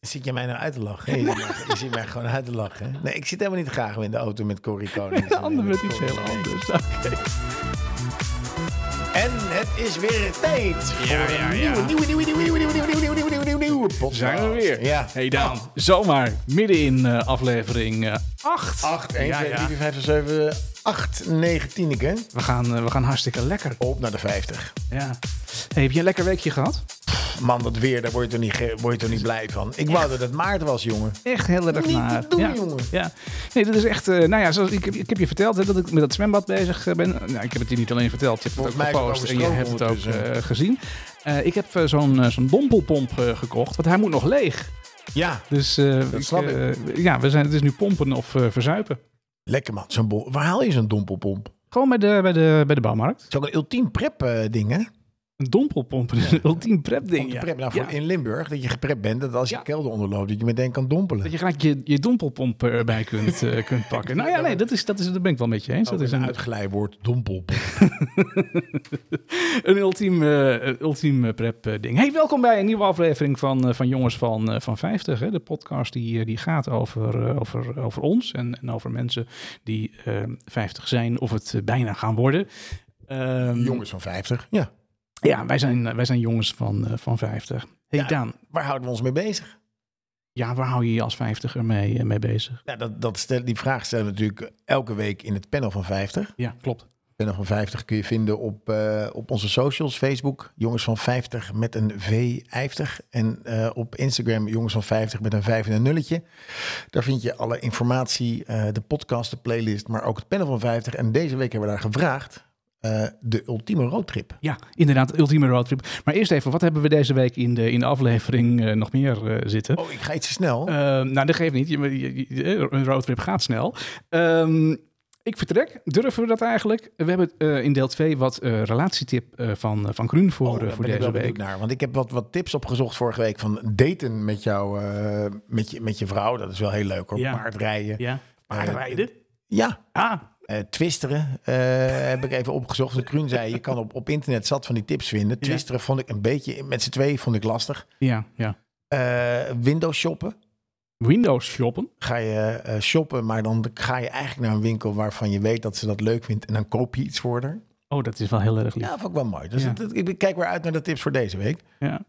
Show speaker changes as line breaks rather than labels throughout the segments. Zit je mij nou uit te lachen? Hey, je zit mij gewoon uit te lachen. hè? Nee, ik zit helemaal niet graag meer in de auto met Corrie Konings.
Een ander met iets heel
Nee.
anders.
En het is weer tijd voor
Ja, ja,
een
ja.
nieuwe, nieuwe, nieuwe, nieuwe, nieuwe, nieuwe, nieuwe, nieuwe, nieuwe, nieuwe, nieuwe, nieuwe podcast.
Zijn we weer?
Ja.
Hey Daan, zomaar midden in eh, aflevering 8.
8, 1, 2, 3, 4, 5, 6, 7, 8, 9, 10 keer.
We gaan, eh, we gaan hartstikke lekker.
Op naar de 50.
Ja. Hey, heb je een lekker weekje gehad?
Man, dat weer, daar word je toch niet, ge- word je toch niet blij van. Ik wou dat het maart was, jongen.
Echt heel erg
Niet te
naar.
doen,
ja.
jongen.
Ja. Nee, dat is echt. eh, nou ja, zoals ik, ik heb je verteld hè, dat ik met dat zwembad bezig eh, ben. Nou, ik heb het je niet alleen verteld. Je hebt
Volgens
het ook
mij
gepost en
heb ik
je
het
hebt het ook
overstroomd
eh, gezien. Eh, ik heb eh, zo'n eh, zo'n dompelpomp eh, gekocht, want hij moet nog leeg.
Ja,
Dus eh,
snap ik.
eh, ja, we zijn, het is nu pompen of eh, verzuipen.
lekker man. Zo'n bol- Waar haal je zo'n dompelpomp? Het
Gewoon bij de, bij de, bij de bouwmarkt.
is ook een ultiem prep eh, ding, hè?
Een dompelpomp, dus een ultiem prep
Om
ding.
te
ja.
preppen. Nou, voor
Ja.
in Limburg, dat je geprept bent, dat als je
Ja.
kelder onderloopt, dat je meteen kan dompelen.
Dat je gelijk je, je dompelpomp erbij kunt, eh, kunt pakken. Nou ja, nee, dat, is, dat, is, dat ben ik wel met je eens. Dat
Ook
is
een
een,
uitglijwoord, dompelpomp.
een ultiem, eh, eh, ultiem eh, prep eh, ding. Hey, welkom bij een nieuwe aflevering van, eh, van Jongens van, eh, van 50. Hè? De podcast die, eh, die gaat over, eh, over, over ons en, en over mensen die eh, 50 zijn of het eh, bijna gaan worden. Ehm,
Jongens van 50. Ja.
Ja, wij zijn, wij zijn jongens van, eh, van 50. Hey
Ja.
Daan,
Waar houden we ons mee bezig?
ja, waar hou je je als 50er mee, eh, mee bezig?
Nou, dat, dat stel, die vraag stellen we natuurlijk elke week in het panel van 50.
Ja, klopt.
Panel van 50 kun je vinden op, eh, op onze socials, Facebook, jongens van 50 met een V50. En eh, op Instagram, jongens van 50 met een 5 en een nulletje. Daar vind je alle informatie, eh, de podcast, de playlist, maar ook het panel van 50. En deze week hebben we daar gevraagd, eh, de ultieme roadtrip.
Ja, inderdaad, ultieme roadtrip. Maar eerst even, wat hebben we deze week in de, in de aflevering eh, nog meer eh, zitten?
Oh, ik ga iets te snel.
Eh, nou, dat geeft niet. Je- je- je- een roadtrip gaat snel. Ehm, ik vertrek. Durven we dat eigenlijk? We hebben eh, in deel 2 wat eh, relatietip eh, van, van Kruun voor,
Oh,
eh,
daar
voor
ben ik
deze
wel benieuwd
week.
naar. Want ik heb wat, wat tips opgezocht vorige week van daten met, jou, eh, met, je, met je vrouw. Dat is wel heel leuk hoor.
Ja.
Paardrijden. Ja,
Ja. eh,
Paardrijden?
Ah,
eh, twisteren eh, heb ik even opgezocht. De Kruun zei, je kan op, op internet zat van die tips vinden.
Ja.
Twisteren vond ik een beetje, met z'n twee vond ik lastig.
ja, ja.
Eh windows shoppen.
Windows shoppen.
Ga je eh, shoppen, maar dan ga je eigenlijk naar een winkel waarvan je weet dat ze dat leuk vindt. En dan koop je iets voor haar.
Oh, dat is wel heel erg lief.
Ja, vond ik wel mooi. Dus
Ja.
dat- dat- ik kijk weer uit naar de tips voor deze week.
Ja.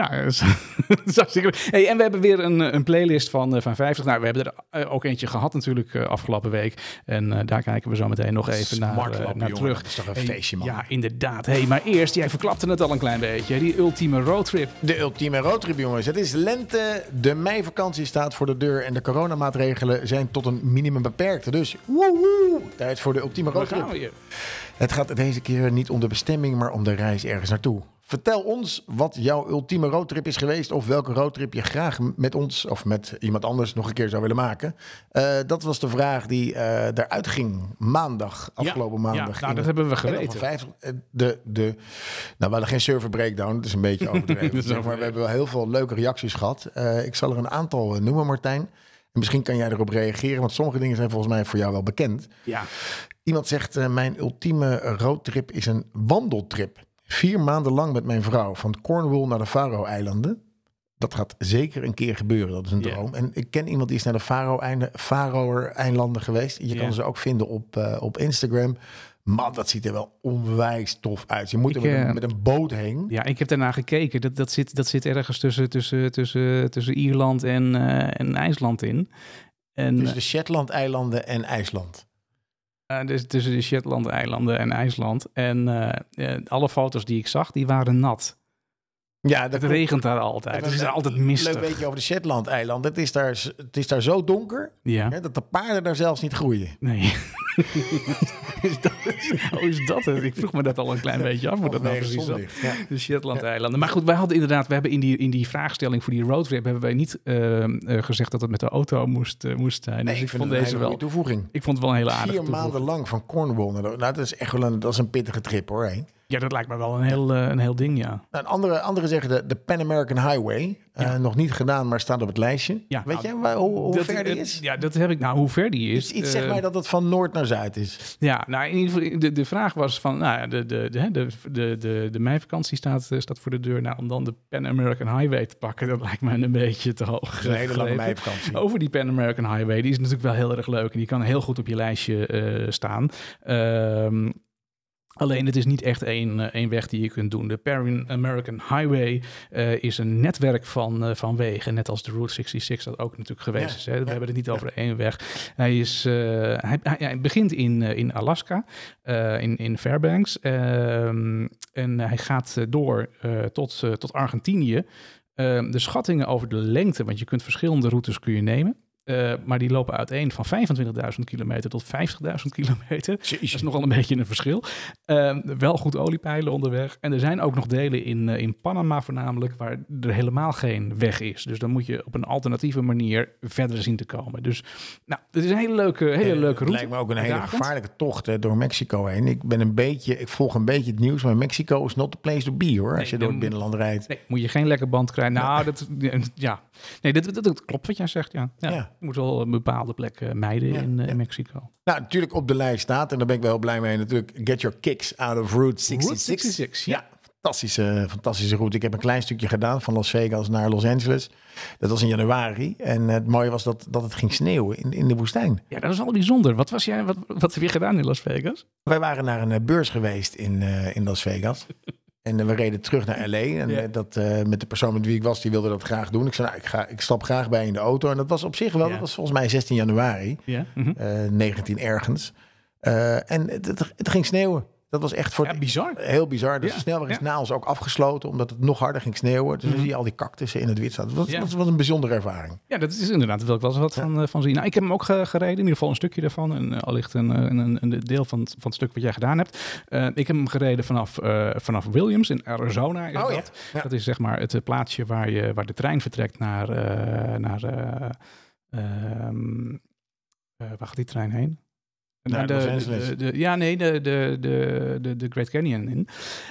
Nou, dat is, dat is hartstikke leuk. Hey, en we hebben weer een, eh, een playlist van, eh, van 50. Nou, we hebben er eh, ook eentje gehad natuurlijk eh, afgelopen week. En eh, daar kijken we zo meteen nog even naar, eh,
Smartlap,
naar
jongen.
terug.
Dat is toch een
Hey,
feestje, man.
Ja, inderdaad. Hey, maar eerst, jij verklapte het al een klein beetje. Die ultieme roadtrip.
De ultieme roadtrip, jongens. Het is lente, de meivakantie staat voor de deur en de coronamaatregelen zijn tot een minimum beperkt. Dus woehoe, tijd voor de ultieme
Waar gaan
roadtrip.
we hier?
Het gaat deze keer niet om de bestemming, maar om de reis ergens naartoe. Vertel ons wat jouw ultieme roadtrip is geweest of welke roadtrip je graag m- met ons of met iemand anders nog een keer zou willen maken. Eh, dat was de vraag die eh daaruit ging maandag, afgelopen
Ja,
maandag.
Ja,
in
nou, dat
het
hebben we
en dan
geweten.
van 50, eh, de, de, nou, we hadden geen server breakdown, dat is een beetje overdreven.
Dat is
zeg maar we hebben wel heel veel leuke reacties gehad. Eh, ik zal er een aantal eh, noemen, Martijn. En misschien kan jij erop reageren, want sommige dingen zijn volgens mij voor jou wel bekend.
Ja.
Iemand zegt, eh, mijn ultieme roadtrip is een wandeltrip. Vier maanden lang met mijn vrouw, van Cornwall naar de Faro-eilanden. Dat gaat zeker een keer gebeuren, dat is een
Ja.
droom. En ik ken iemand die is naar de Faro-einde- Faro-eilanden geweest. Je
Ja.
kan ze ook vinden op, eh, op Instagram. Man, dat ziet er wel onwijs tof uit. Je moet er
Ik,
met, een,
eh,
met een boot heen.
ja, ik heb daarna gekeken. Dat, dat, zit, dat zit ergens tussen, tussen, tussen, tussen Ierland en, eh, en IJsland in. En,
Dus de Shetland-eilanden en IJsland.
Eh, dus tussen de Shetland-eilanden en IJsland. En eh, eh, alle foto's die ik zag, die waren nat.
Ja, dat
Het regent daar altijd.
Dat
Het is
was
daar altijd
Leuk
mistig.
beetje over de Shetland-eilanden. Het, is daar z- het is daar zo donker
Ja.
hè, dat de paarden daar zelfs niet groeien.
Nee. is dat, hoe is dat het? Ik vroeg me dat al een klein beetje af. Hoe dat nou
Vanwege
precies zat.
zonlicht, ja.
De Shetland-eilanden. Maar goed, wij hadden inderdaad, we hebben in die, in die vraagstelling voor die roadtrip, hebben wij niet eh, eh, gezegd dat het met de auto moest, eh, moest zijn.
Nee,
dus ik,
vind
vond
het een
deze
hele
wel.
goede toevoeging.
Ik vond het wel een hele
Vier
aardige toevoeging.
maanden lang van Cornwall. naar de- Nou, dat is echt wel een, dat is een pittige trip hoor. hè.
Ja, dat lijkt me wel een heel, eh, een heel ding, ja.
Nou, andere, anderen zeggen de, de Pan American Highway. Eh, nog niet gedaan, maar staat op het lijstje.
Ja,
Weet
nou,
je waar- hoe, hoe
dat,
ver die
eh,
is?
Ja, dat heb ik. Nou, hoe ver die is.
Iets, iets zeg
eh,
maar dat het van noord naar zuid is.
Ja, nou, in ieder geval, de, de vraag was van, nou ja, de, de, de, hè, de, de, de, de meivakantie staat, eh, staat voor de deur. Nou, om dan de Pan American Highway te pakken, dat lijkt me een beetje te hoog.
Dat is een hele lange
gegrepen.
meivakantie.
Over die Pan American Highway, die is natuurlijk wel heel erg leuk en die kan heel goed op je lijstje eh, staan. Ehm, Alleen het is niet echt één, eh, één weg die je kunt doen. De Pan American Highway eh, is een netwerk van, eh, van wegen. Net als de Route 66 dat ook natuurlijk geweest
Ja,
is. Hè. We
ja,
hebben het niet
ja.
over één weg. Hij, is, eh, hij, hij- hij begint in, eh, in Alaska, eh, in, in Fairbanks. Ehm, en hij gaat eh, door eh, tot, eh, tot Argentinië. Ehm, de schattingen over de lengte, want je kunt verschillende routes kun je nemen. eh, maar die lopen uiteen van 25.000 kilometer tot 50.000 kilometer. Dat is nogal een beetje een verschil. Ehm, wel goed oliepeilen onderweg. En er zijn ook nog delen in, eh, in Panama voornamelijk waar er helemaal geen weg is. Dus dan moet je op een alternatieve manier verder zien te komen. Dus nou, het is een hele leuke, hele
Eh,
leuke
het
route.
lijkt me ook een hele
Uitdagend.
gevaarlijke tocht eh, door Mexico heen. Ik ben een beetje, ik volg een beetje het nieuws, maar Mexico is not the place to be hoor.
Nee,
Als je door
dan-
het binnenland rijdt.
Nee, moet je geen lekker band krijgen. Nou, dat, ja. Nee, dat, dat, dat klopt wat jij zegt, ja. ja.
Ja.
Je moet wel een bepaalde plek eh, mijden
Ja,
in, eh,
ja.
in Mexico.
Nou, natuurlijk op de lijst staat, en daar ben ik wel heel blij mee natuurlijk, Get Your Kicks Out of Route 66.
Route 66, ja.
Ja, fantastische, fantastische route. Ik heb een klein stukje gedaan van Las Vegas naar Los Angeles. Dat was in januari. En het mooie was dat, dat het ging sneeuwen in, in de woestijn.
Ja, dat is wel bijzonder. Wat, was jij, wat, wat heb je gedaan in Las Vegas?
Wij waren naar een eh, beurs geweest in, eh, in Las Vegas. En eh, we reden terug naar L.A. En
Ja.
eh, dat, eh, met de persoon met wie ik was, die wilde dat graag doen. Ik zei, nou, ik, ga, ik stap graag bij in de auto. En dat was op zich wel,
Ja.
dat was volgens mij 16 januari,
Ja.
eh, 19 ergens. Eh, en het, het- het ging sneeuwen. Dat was echt voor
ja,
het
bizar.
Heel bizar. Dus
Ja,
de snelweg is
ja. Mhm.
na ons ook afgesloten, omdat het nog harder ging sneeuwen. Dus dan zie je al die cactussen in het wit staan. Dat was,
Ja.
dat was een bijzondere ervaring.
Ja, dat is inderdaad, daar wil ik wel eens wat van, eh, van zien. Nou, ik heb hem ook ge- gereden, in ieder geval een stukje daarvan. En eh, allicht een, eh, een, een- een deel van, het- van het stuk wat jij gedaan hebt. Eh, ik heb hem gereden vanaf, eh, vanaf Williams in Arizona. Is
Oh, ja.
dat.
Ja.
dat is zeg maar het eh, plaatsje waar, je, waar de trein vertrekt naar... eh, naar eh, ehm, eh, waar gaat die trein heen?
Naar
Naar
Los
de,
Angeles.
de- de- ja, nee, de, de, de, de, de Great Canyon in.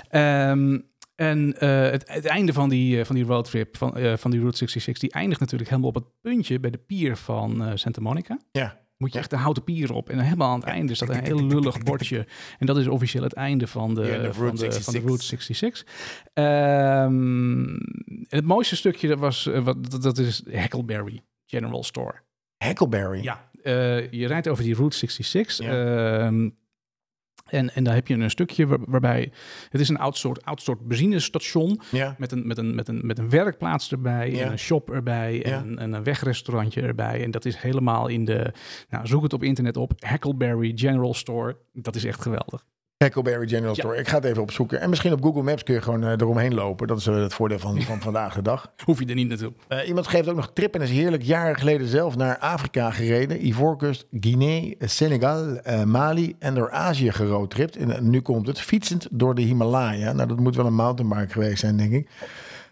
Ehm, en eh, het, het einde van die, eh, van die roadtrip, van, eh, van die Route 66, die eindigt natuurlijk helemaal op het puntje bij de pier van eh, Santa Monica.
Ja.
Moet je
Ja.
echt de houten pier op en dan helemaal aan het einde staat een heel lullig bordje. En dat is officieel het einde van de,
Ja, de Route
van de, van de
66.
Route 66. Ehm, en het mooiste stukje dat was, eh, wat, dat- dat is Hackleberry General Store.
Hackleberry.
Ja, eh, je rijdt over die Route 66.
Ja.
ehm, en, en daar heb je een stukje waar- waarbij... Het is een oud soort, oud soort benzinestation
Ja.
met een, met, een, met, een, met een werkplaats erbij,
Ja.
en een shop erbij en,
Ja.
een- en een wegrestaurantje erbij. En dat is helemaal in de... Nou, zoek het op internet op. Hackleberry General Store. Dat is echt geweldig.
Hackleberry General
Ja.
Store. Ik ga het even opzoeken. En misschien op Google Maps kun je gewoon eh, eromheen lopen. Dat is eh, het voordeel van, van vandaag de dag.
Hoef je er niet naartoe.
Eh, iemand geeft ook nog trip en is heerlijk jaren geleden zelf naar Afrika gereden. Ivoorkust, Guinea, Senegal, eh, Mali en door Azië geroadtript. En eh, nu komt het fietsend door de Himalaya. Nou, dat moet wel een mountainbike geweest zijn, denk ik.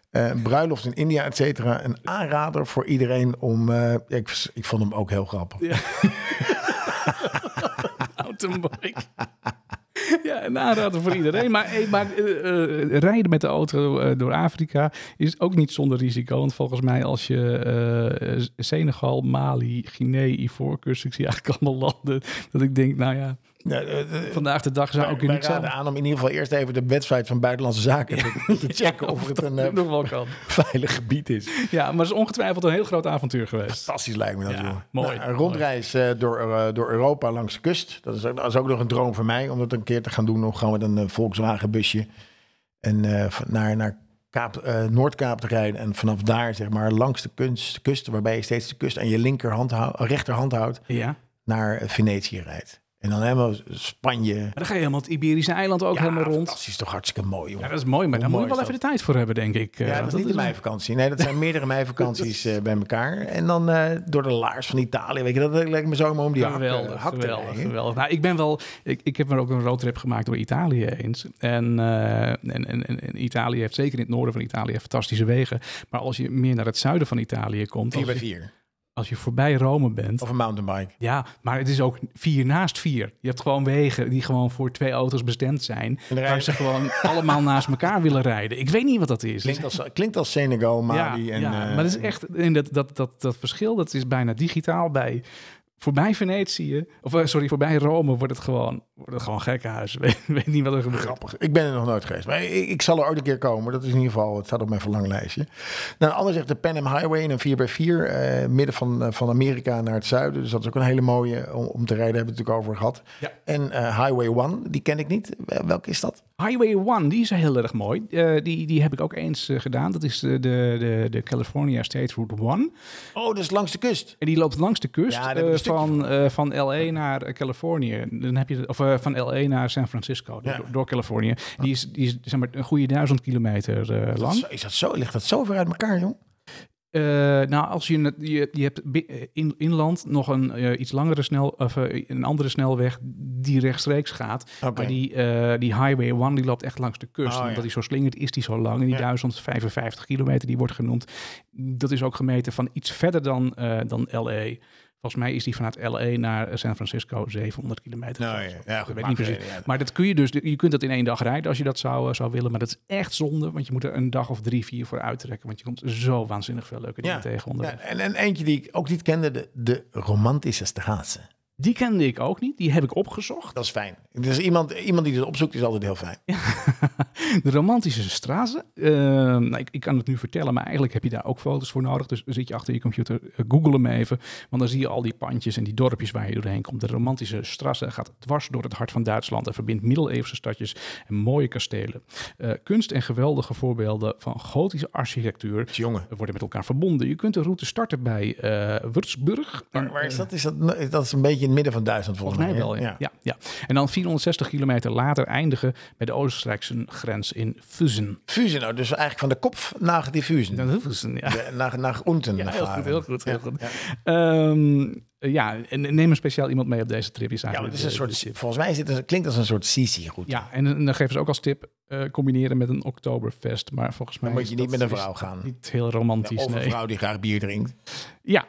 Eh, bruiloft in India, et cetera. Een aanrader voor iedereen om... eh, ik, ik vond hem ook heel grappig.
Mountainbike. Ja, een aanrader voor iedereen. Maar, eh, maar eh, eh, rijden met de auto eh, door Afrika is ook niet zonder risico. Want volgens mij als je eh, eh, Senegal, Mali, Guinea, Ivoorkust... Ik zie eigenlijk allemaal landen dat ik denk, nou ja,
Nou, eh, eh,
vandaag de dag zou
wij-
ook weer
wij
niet zijn.
raden aan om in ieder geval eerst even de website van Buitenlandse Zaken te, te checken... of het een eh,
nog wel kan.
veilig gebied is.
Ja, maar het is ongetwijfeld een heel groot avontuur geweest.
Fantastisch lijkt me dat,
Ja,
jongen.
mooi.
Nou, een rondreis eh, door, eh, door Europa langs de kust. Dat is, ook- dat is ook nog een droom voor mij om dat een keer te gaan doen. Nog gewoon met een eh, Volkswagen busje. En eh, van- naar, naar Kaap, eh, Noordkaap te rijden. En vanaf daar, zeg maar, langs de, kunst, de kust, waarbij je steeds de kust aan je linkerhand hou- rechterhand houdt,
Ja.
naar eh, Venetië rijdt. En dan helemaal Spanje.
Maar dan ga je helemaal het Iberische eiland ook
Ja,
helemaal rond.
Fantastisch, toch hartstikke mooi,
Ja,
jongen.
dat is mooi, maar daar moet
mooi
je wel
is
even de tijd voor hebben, denk ik. Eh,
Ja, dat
want
is niet de meivakantie. Nee, dat zijn meerdere meivakanties eh, bij elkaar. En dan eh, door de laars van Italië. Weet je, dat lijkt me zo maar om die hak, eh,
Geweldig,
hak te
geweldig,
rijden.
geweldig. Nou, ik ben wel, ik, ik heb er ook een roadtrip gemaakt door Italië eens. En, eh, en, en, en- en Italië heeft zeker in het noorden van Italië fantastische wegen. Maar als je meer naar het zuiden van Italië komt,
Vier
als
bij
je,
vier.
als je voorbij Rome bent.
Of een mountainbike.
Ja, maar het is ook vier naast vier. Je hebt gewoon wegen die gewoon voor twee auto's bestemd zijn.
En dan
Waar
rijden-
ze gewoon allemaal naast elkaar willen rijden. Ik weet niet wat dat is.
Klinkt als, eh, klinkt als Senegal, Mali.
ja,
en,
ja,
eh,
maar dat is echt. En dat, dat, dat, dat verschil dat is bijna digitaal bij. Voorbij Venetië, of eh, sorry, voorbij Rome wordt het gewoon, wordt het gewoon gekkenhuis. Weet, weet niet wat er gebeurt.
Grappig. Ik ben er nog nooit geweest. Maar ik, ik zal er ooit een keer komen. Dat is in ieder geval, het staat op mijn verlanglijstje. Nou, anders zegt de Pan Am Highway in een 4x4. eh, midden van, eh, van Amerika naar het zuiden. Dus dat is ook een hele mooie om, om te rijden. Hebben we het natuurlijk over gehad.
Ja.
En eh, Highway 1, die ken ik niet. Wel- Welke is dat?
Highway 1, die is heel erg mooi. Eh, die, die heb ik ook eens eh, gedaan. Dat is eh, de, de, de California State Route 1.
Oh, dat is langs de kust.
En die loopt langs de kust
Ja, daar heb ik een
eh,
stukje
van, eh, van LA naar eh, Californië. Dan heb je de- of eh, van LA naar San Francisco, door-
Ja.
door, door Californië. Die is, die is zeg maar, een goede duizend kilometer eh,
Dat
lang.
is, is dat zo? Ligt dat zo ver uit elkaar, jong?
Eh, nou, als je, het- je, je hebt bi- eh, in, inland nog een eh, iets langere snel, of, eh, een andere snelweg die rechtstreeks gaat.
Oké.
Maar die, eh, die Highway 1 die loopt echt langs de kust.
Oh,
omdat
ja.
die zo slingert is die zo lang. En die
Ja.
1055 kilometer die wordt genoemd. Dat is ook gemeten van iets verder dan, eh, dan LA. Volgens mij is die vanuit LA naar eh, San Francisco 700 kilometer.
Nou, ja. Ja, goed,
ik weet
maakt
niet precies.
niet uit, ja.
Maar dat kun je dus, je kunt dat in één dag rijden als je dat zou, eh, zou willen. Maar dat is echt zonde, want je moet er een dag of drie, vier voor uittrekken. Want je komt zo waanzinnig veel leuke dingen
Ja.
tegen onderweg.
Ja, en, en eentje die ik ook niet kende, de, de romantische straatse.
Die kende ik ook niet, die heb ik opgezocht.
Dat is fijn. Dus iemand, iemand die dit opzoekt is altijd heel fijn.
De romantische straten. eh, nou, ik, ik kan het nu vertellen, maar eigenlijk heb je daar ook foto's voor nodig. Dus zit je achter je computer, eh, google hem even. Want dan zie je al die pandjes en die dorpjes waar je doorheen komt. De romantische strassen gaat dwars door het hart van Duitsland en verbindt middeleeuwse stadjes en mooie kastelen. Eh, kunst en geweldige voorbeelden van gotische architectuur
Jongen.
worden met elkaar verbonden. Je kunt de route starten bij eh Würzburg. En,
Waar, waar is
eh,
dat? Is dat? Dat is een beetje in het midden van Duitsland volgens,
Volgens mij wel,
hè?
ja. Ja, ja. En dan 460 kilometer later eindigen bij de Oostenrijkse grens in Fusen.
Fusen, nou, dus eigenlijk van de kop naar die Fusen.
Fusen, ja.
De- Naar, naar unten
Ja, heel goed,
varen.
heel goed. Heel goed.
Ja,
Ehm, ja, en neem een speciaal iemand mee op deze trip. Is
Ja, maar
eigenlijk
het is een
de- de
soort,
tip.
volgens mij is dit een- klinkt als een soort Sisi-route.
Dus- Ja, en, en dan geven ze ook als tip eh, combineren met een Oktoberfest. Maar volgens mij
Dan moet
is
je niet
dat-
met een
is
vrouw
dat
gaan.
Niet heel
Ja,
romantisch,
of een
nee.
vrouw die graag bier drinkt.
Ja.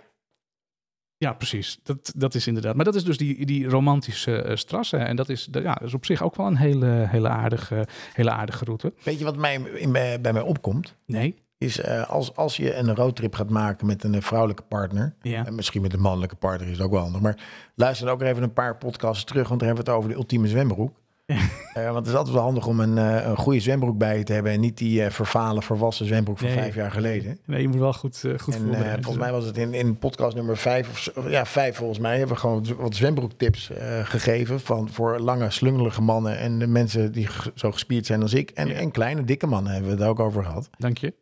Ja, precies. Dat, dat is inderdaad. Maar dat is dus die, die romantische eh, strassen. En dat is, dat- ja, dat is op zich ook wel een hele, hele, aardige, hele aardige route.
Weet je wat mij, in, bij bij mij opkomt?
Nee?
Is eh, als, als je een roadtrip gaat maken met een eh, vrouwelijke partner.
Ja.
En misschien met een mannelijke partner is het ook wel handig. Maar luister dan ook even een paar podcasts terug. Want daar hebben we het over de ultieme zwembroek. Eh, want het is altijd wel handig om een, eh, een goede zwembroek bij je te hebben. En niet die eh, vervalen, verwassen zwembroek van
Nee.
vijf jaar geleden.
Nee, je moet wel goed, eh, goed
En eh,
voorbereid
volgens
zijn.
mij was het in, in podcast nummer vijf, of zo- ja, vijf volgens mij, hebben we gewoon z- wat zwembroektips eh, gegeven van, voor lange, slungelige mannen en de mensen die g- zo gespierd zijn als ik. En,
Ja.
en kleine, dikke mannen hebben we het ook over gehad.
Dank je.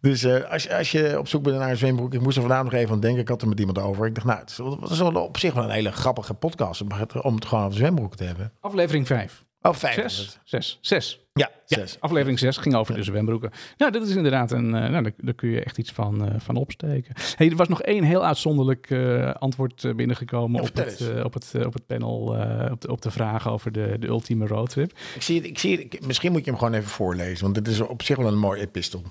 Dus eh, als, je- als je op zoek bent naar een zwembroek, ik moest er vandaag nog even aan denken, ik had er met iemand over. Ik dacht, nou, het is, wel- het is wel op zich wel een hele grappige podcast om het, om het gewoon over zwembroek te hebben.
Aflevering 5.
Oh, vijf. was het.
6. 6. 6.
Ja,
Ja,
zes.
aflevering 6 ging over de zwembroeken. Nou, dat is inderdaad een. eh, nou, daar, daar kun je echt iets van, eh, van opsteken. Hey, er was nog één heel uitzonderlijk eh, antwoord eh, binnengekomen
Ja,
op
vertel
het, eh, op, het, eh, op het panel. eh, op, de, op de vraag over de, de ultieme roadtrip.
Ik zie het, ik zie het, ik- misschien moet je hem gewoon even voorlezen, want het is op zich wel een mooi epistel.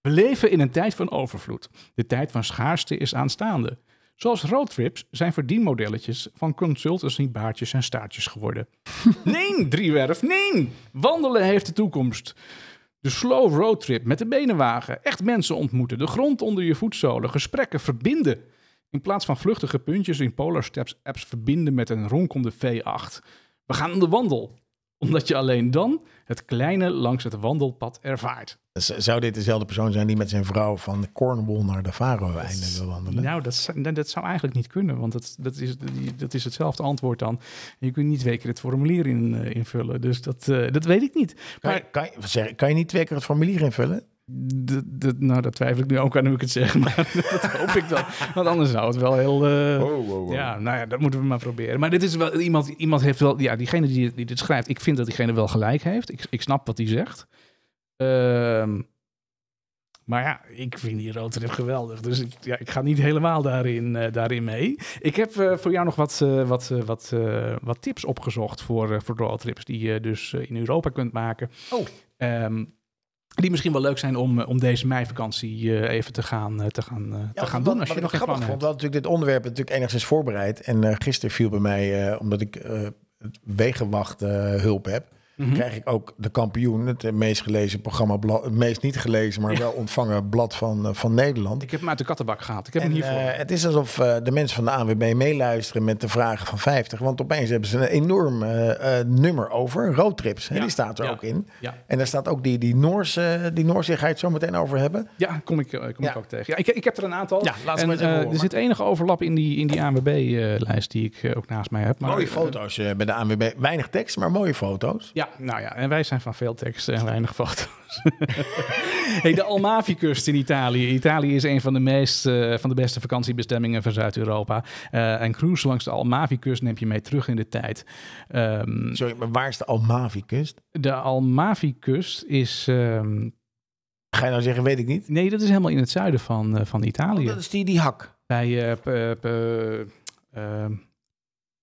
We leven in een tijd van overvloed. De tijd van schaarste is aanstaande. Zoals roadtrips zijn verdienmodelletjes van consultancy baardjes en staartjes geworden. Nee, driewerf, nee! Wandelen heeft de toekomst. De slow roadtrip met de benenwagen. Echt mensen ontmoeten, de grond onder je voetzolen, gesprekken verbinden. In plaats van vluchtige puntjes in Polar Steps apps verbinden met een ronkende V8. We gaan aan de wandel, omdat je alleen dan het kleine langs het wandelpad ervaart.
Z- Dus, eh, Zou dit dezelfde persoon zijn die met zijn vrouw van Cornwall naar de Faro-einde wil wandelen?
Nou, dat, zou- dat- dat zou eigenlijk niet kunnen, want dat, dat, is, die- dat is hetzelfde antwoord dan. Je kunt niet twee keer het formulier in, eh, invullen, dus dat, eh, dat weet ik niet.
Kan, je, kan, je, wat zeg ik, kan je niet twee keer het formulier invullen?
D- d- nou, dat twijfel ik nu ook aan hoe ik het zeg, maar dat hoop ik wel. Want anders zou het wel heel... eh, Ja, nou ja, dat moeten we maar proberen. Maar dit is wel iemand, iemand heeft wel, ja, diegene die, die dit schrijft, ik vind dat diegene wel gelijk heeft. Ik, ik snap wat hij zegt. Ehm, maar ja, ik vind die roadtrip geweldig. Dus ik, ja, ik ga niet helemaal daarin, eh, daarin mee. Ik heb eh, voor jou nog wat, eh, wat, eh, wat, eh, wat tips opgezocht voor, eh, voor roadtrips die je dus eh, in Europa kunt maken.
Oh.
Ehm, Die misschien wel leuk zijn om, eh, om deze meivakantie eh, even te gaan, eh, te gaan, eh, te gaan doen.
wat,
Als
wat ik
je nog geen
grappig
plannen
vond,
hebt.
we hadden natuurlijk dit onderwerp natuurlijk enigszins voorbereid. En eh gisteren viel bij mij, eh, omdat ik eh, het wegenwacht eh, hulp heb,
Mhm.
krijg ik ook de kampioen, het eh, meest gelezen programma, blad- het meest niet gelezen, maar
Ja.
wel ontvangen blad van, eh, van Nederland.
Ik heb hem uit de kattenbak gehaald. Ik heb
En,
hem hiervoor.
eh, het is alsof eh, de mensen van de ANWB meeluisteren met de vragen van 50. Want opeens hebben ze een enorm eh, eh, nummer over. Roadtrips, hè,
Ja,
die staat er
ja,
ook in.
ja.
En daar staat ook die, die, Noorse, die Noorsigheid zo meteen over hebben.
Ja, kom ik, eh, kom
Ja.
ik ook tegen. Ja, ik, ik heb er een aantal.
Ja, laat ze
en,
maar eens even
eh,
horen.
Er zit enige overlap in die, in die ANWB-lijst die ik eh, ook naast mij heb. Maar,
mooie
eh,
foto's eh, bij de ANWB. Weinig tekst, maar mooie foto's.
Ja, nou ja, en wij zijn van veel teksten en weinig foto's. hey, de Almavi-kust in Italië. Italië is een van de, meest, eh, van de beste vakantiebestemmingen van Zuid-Europa. Eh een cruise langs de Almavi-kust neem je mee terug in de tijd. Ehm,
Sorry, maar waar is de Almavi-kust?
de Almavi-kust is... ehm,
Ga je nou zeggen, weet ik niet.
nee, dat is helemaal in het zuiden van, eh, van
Oh,
Italië.
dat is die, die hak.
Bij... eh, p- p- ehm,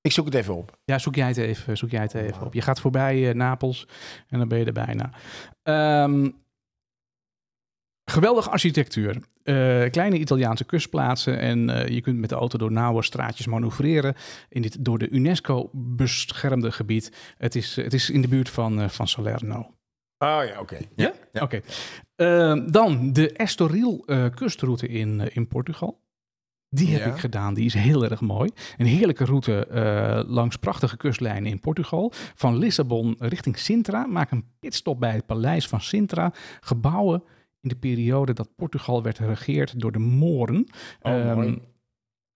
Ik zoek het even op.
Ja, zoek jij het even, zoek jij het even op. Je gaat voorbij eh, Napels en dan ben je er bijna. Ehm, geweldige architectuur. Eh, kleine Italiaanse kustplaatsen en eh, je kunt met de auto door nauwe straatjes manoeuvreren in dit door de UNESCO beschermde gebied. Het is, het is in de buurt van, eh, van Salerno.
Oh ja, oké.
Ja? Oké. Ehm, dan de Estoril eh, kustroute in, eh, in Portugal. Die heb
Ja.
ik gedaan. Die is heel erg mooi. Een heerlijke route eh, langs prachtige kustlijnen in Portugal. Van Lissabon richting Sintra. Maak een pitstop bij het paleis van Sintra. Gebouwen in de periode dat Portugal werd geregeerd door de Moren.
Oh, mooi.
Ehm,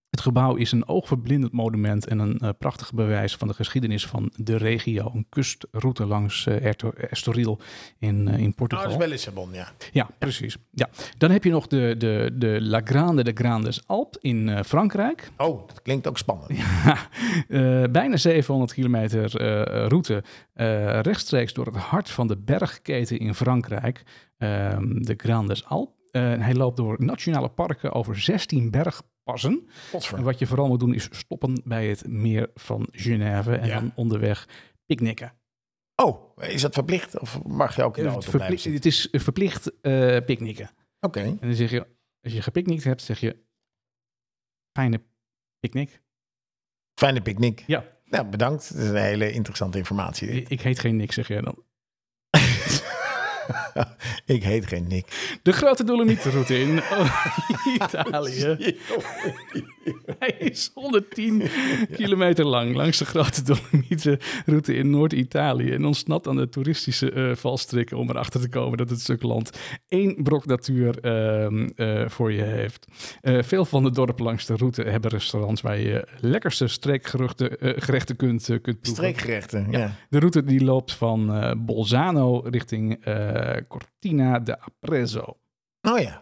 het gebouw is een oogverblindend monument en een eh, prachtig bewijs van de geschiedenis van de regio. Een kustroute langs eh, Erto- Estoril in, eh, in
Oh,
Portugal.
dat is bij Lissabon, ja.
Ja, precies. Ja. Dan heb je nog de, de, de La Grande de Grandes Alp in eh, Frankrijk.
Oh, dat klinkt ook spannend.
Eh, bijna 700 kilometer eh, route eh, rechtstreeks door het hart van de bergketen in Frankrijk, ehm, de Grandes Alp. Eh, hij loopt door nationale parken over 16 bergpassen. En
Godver.
wat je vooral moet doen is stoppen bij het meer van Genève en
Ja.
dan onderweg picknicken.
Oh, is dat verplicht? Of mag je ook in de auto blijven
Verplicht,
zitten?
het is verplicht eh picknicken.
Oké.
En dan zeg je, als je gepiknikt hebt, zeg je, fijne picknick.
Fijne picknick.
Ja.
Nou, bedankt. Dat is een hele interessante informatie. dit.
Ik ik heet geen niks, zeg jij dan.
ik heet geen Nick.
De grote Dolomietenroute in Italië. Hij is 110 kilometer lang langs de grote Dolomietenroute in Noord-Italië. En ontsnapt aan de toeristische eh, valstrikken om erachter te komen dat het stuk land één brok natuur ehm, eh, voor je heeft. Eh, veel van de dorpen langs de route hebben restaurants waar je lekkerste streekgerechten eh, gerechten kunt, eh, kunt proeven.
Streekgerechten. Ja.
De route die loopt van eh, Bolzano richting eh, Cortina de Aprezo.
Oh ja,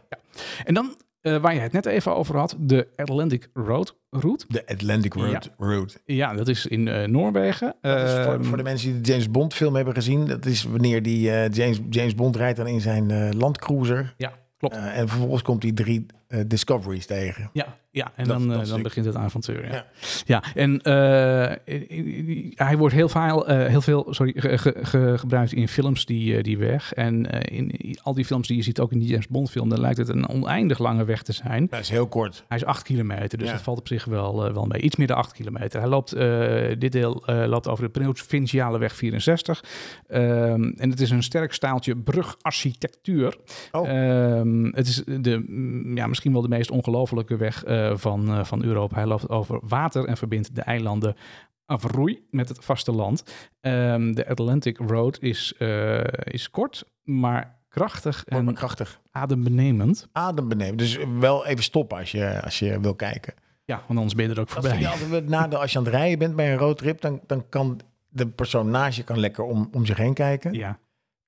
En dan, eh, waar je het net even over had, de Atlantic Road route.
de Atlantic Road.
Ja.
Route.
Ja, dat is in eh, Noorwegen.
Dat is voor,
Ehm,
voor de mensen die de James Bond film hebben gezien, dat is wanneer die eh, James, James Bond rijdt dan in zijn eh, landcruiser.
Ja, klopt.
Eh, en vervolgens komt hij drie eh, discoveries tegen.
Ja, ja
Dat-
en dan, eh,
dat
dan
stuk.
begint het avontuur. Ja,
Ja.
ja. en eh, hij wordt heel veel, eh, heel veel sorry, ge- ge- ge- gebruikt in films die, eh, die weg. En eh, in al die films die je ziet, ook in die James Bond film, dan lijkt het een oneindig lange weg te zijn.
Dat is heel kort.
Hij is 8 kilometer, dus
Ja.
dat valt op zich wel, eh, wel mee. Iets meer dan 8 kilometer. Hij loopt, eh, dit deel eh, loopt over de Provinciale Weg 64. Ehm, en het is een sterk staaltje brugarchitectuur.
Oh.
Ehm, het is de, mm, ja, misschien wel de meest ongelofelijke weg eh, van, eh, van Europa. Hij loopt over water en verbindt de eilanden Avroei met het vasteland. Ehm, de Atlantic Road is, eh, is kort, maar krachtig
Mooi, maar
en
krachtig.
adembenemend.
Adembenemen. Dus wel even stoppen als je, als je wil kijken.
Ja, want anders ben je er ook
Dat
voorbij.
vind ik altijd het nadeel. Als je aan het rijden bent bij een roadtrip, dan, dan kan de persoon naast je kan lekker om, om zich heen kijken.
Ja.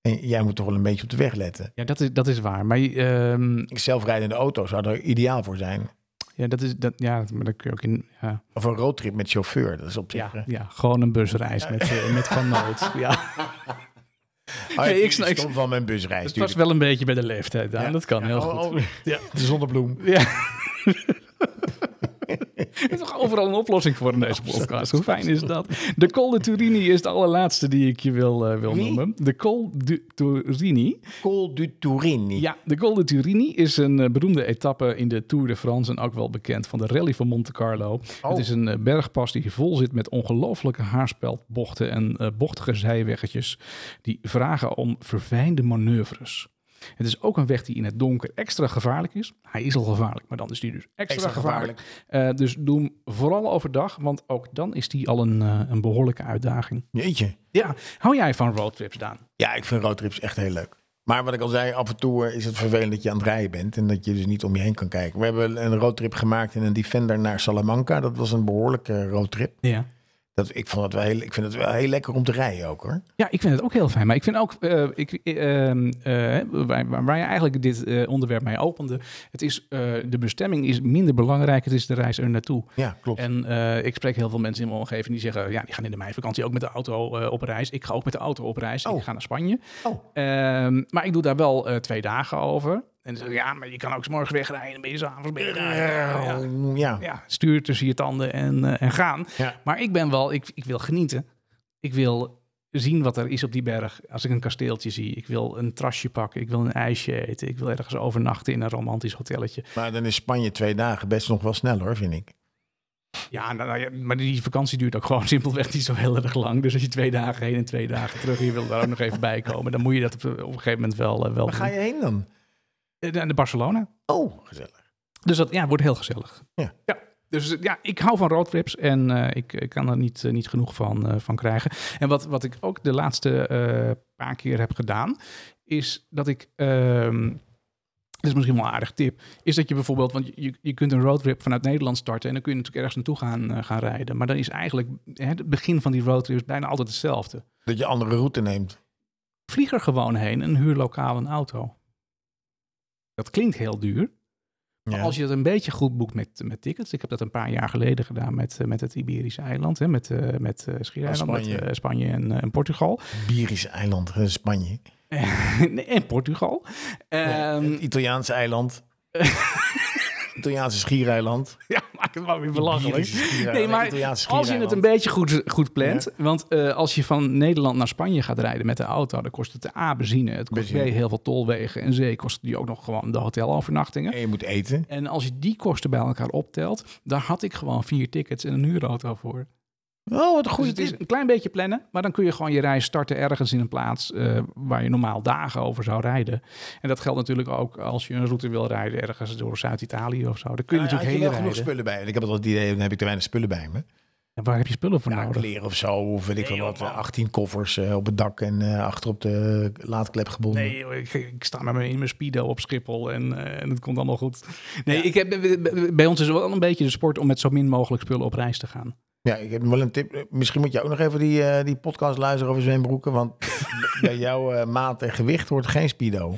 En jij moet toch wel een beetje op de weg letten.
Ja, dat is, dat is waar. Maar ehm,
Ik zelfrijdende auto zou er ideaal voor zijn.
ja, dat is, dat, ja, maar dat kun je ook in. Ja,
Of een roadtrip met chauffeur. Dat is op zich. eh,
ja, ja, gewoon een busreis met, eh, met Van Noot. Ja. Nee, ik
oh, ik
snap- ik
stond van mijn busreis.
Het was
tuurlijk.
wel een beetje bij de leeftijd aan.
Ja.
Dat kan
Ja,
heel
oh,
goed.
oh,
Ja.
De zonnebloem.
Ja. Het is toch overal een oplossing voor in deze podcast. Hoe fijn is dat? De Col de Turini is de allerlaatste die ik je wil, eh, wil
Wie?
noemen. De Col de Turini.
Col du Turini.
Ja, de Col de Turini is een eh, beroemde etappe in de Tour de France en ook wel bekend van de rally van Monte Carlo. Het is een eh, bergpas die vol zit met ongelooflijke haarspeldbochten en eh, bochtige zijweggetjes die vragen om verfijnde manoeuvres. Het is ook een weg die in het donker extra gevaarlijk is. Hij is al gevaarlijk, maar dan is die dus extra,
Extra
gevaarlijk. Eh, dus doe hem vooral overdag, want ook dan is die al een, eh, een behoorlijke uitdaging.
Jeetje.
Ja, hou jij van roadtrips, Daan?
Ja, ik vind roadtrips echt heel leuk. Maar wat ik al zei, af en toe eh, is het vervelend dat je aan het rijden bent en dat je dus niet om je heen kan kijken. We hebben een roadtrip gemaakt in een Defender naar Salamanca. Dat was een behoorlijke roadtrip.
Ja.
Dat, ik, vond het wel heel, ik vind het wel heel lekker om te rijden ook hoor.
Ja, ik vind het ook heel fijn. Maar ik vind ook, eh, ik, eh, ehm, eh, waar, waar waar je eigenlijk dit eh, onderwerp mee opende, het is, eh, de bestemming is minder belangrijk, het is de reis er naartoe.
Ja, klopt.
En eh, ik spreek heel veel mensen in mijn omgeving die zeggen, ja, die gaan in de meivakantie ook met de auto eh, op reis. Ik ga ook met de auto op reis.
Oh.
Ik ga naar Spanje.
Oh.
Ehm, maar ik doe daar wel eh, twee dagen over. En dan zeggen, ja, maar je kan ook 's morgens wegrijden, dan ben je s'avonds weer. Ja, ja.
ja.
ja, stuur tussen je tanden en, eh, en gaan.
Ja.
Maar ik ben wel, ik, ik wil genieten. Ik wil zien wat er is op die berg. Als ik een kasteeltje zie, ik wil een trasje pakken, ik wil een ijsje eten, ik wil ergens overnachten in een romantisch hotelletje.
Maar dan is Spanje twee dagen best nog wel snel hoor, vind ik.
Ja, nou, nou ja, maar die vakantie duurt ook gewoon simpelweg niet zo heel erg lang. Dus als je twee dagen heen en twee dagen terug, en je wil daar ook nog even bij komen, dan moet je dat op, op een gegeven moment wel, eh, wel
Waar ga je heen dan?
doen. Eh, naar Barcelona.
Oh, gezellig.
Dus dat ja, wordt heel gezellig.
Ja.
Dus eh, ja, ik hou van roadtrips en eh, ik, ik kan er niet, eh, niet genoeg van, eh, van krijgen. En wat, wat ik ook de laatste eh, paar keer heb gedaan, is dat ik. ehm dat is misschien wel een aardig tip. Is dat je bijvoorbeeld, want je, je kunt een roadtrip vanuit Nederland starten en dan kun je natuurlijk ergens naartoe gaan, eh, gaan rijden. Maar dan is eigenlijk hè, het begin van die roadtrips bijna altijd hetzelfde.
Dat je andere route neemt.
Vlieg er gewoon heen en huur lokaal een auto. Dat klinkt heel duur, maar
Ja.
Als je het een beetje goed boekt met, met tickets. Ik heb dat een paar jaar geleden gedaan met, eh, met het Iberische eiland. Hè, met eh met eh, Schiereiland,
Oh, Spanje.
met eh, Spanje en, eh, en Portugal.
Bierische eiland, eh, Spanje.
Nee, en Portugal. Ehm,
het Italiaanse eiland. Italiaanse schiereiland.
ja, maak het maar weer belachelijk.
Bierische schiereiland,
Nee, maar
eh, Italiaanse
als je het
schiereiland.
een beetje goed, goed plant. Want eh, als je van Nederland naar Spanje gaat rijden met de auto, dan kost het A benzine. Het kost B
Benzine.
heel veel tolwegen. En C kost die ook nog gewoon de hotelovernachtingen.
En je moet eten.
En als je die kosten bij elkaar optelt, daar had ik gewoon vier tickets en een huurauto voor.
Oh, wat een goede
Dus het is een klein beetje plannen, maar dan kun je gewoon je reis starten ergens in een plaats eh, waar je normaal dagen over zou rijden. En dat geldt natuurlijk ook als je een route wil rijden ergens door Zuid-Italië of zo. Dan kun je natuurlijk heen
wel genoeg
rijden.
spullen bij. me? Ik heb altijd het idee, dan heb ik te weinig spullen bij me.
En waar heb je spullen voor
Ja,
nodig?
kleren of zo, of weet ik
Nee,
wel wat.
joh, man.
18 koffers eh, op het dak en eh, achter op de laadklep gebonden.
Nee, joh, ik, ik sta met mijn, in mijn speedo op Schiphol en, eh, en het komt allemaal goed. Nee, ik heb, eh, bij ons is wel een beetje de sport om met zo min mogelijk spullen op reis te gaan.
Ja, ik heb wel een tip. Misschien moet je ook nog even die, eh, die podcast luisteren over zwembroeken. Want b- bij jouw eh, maat en gewicht hoort geen speedo.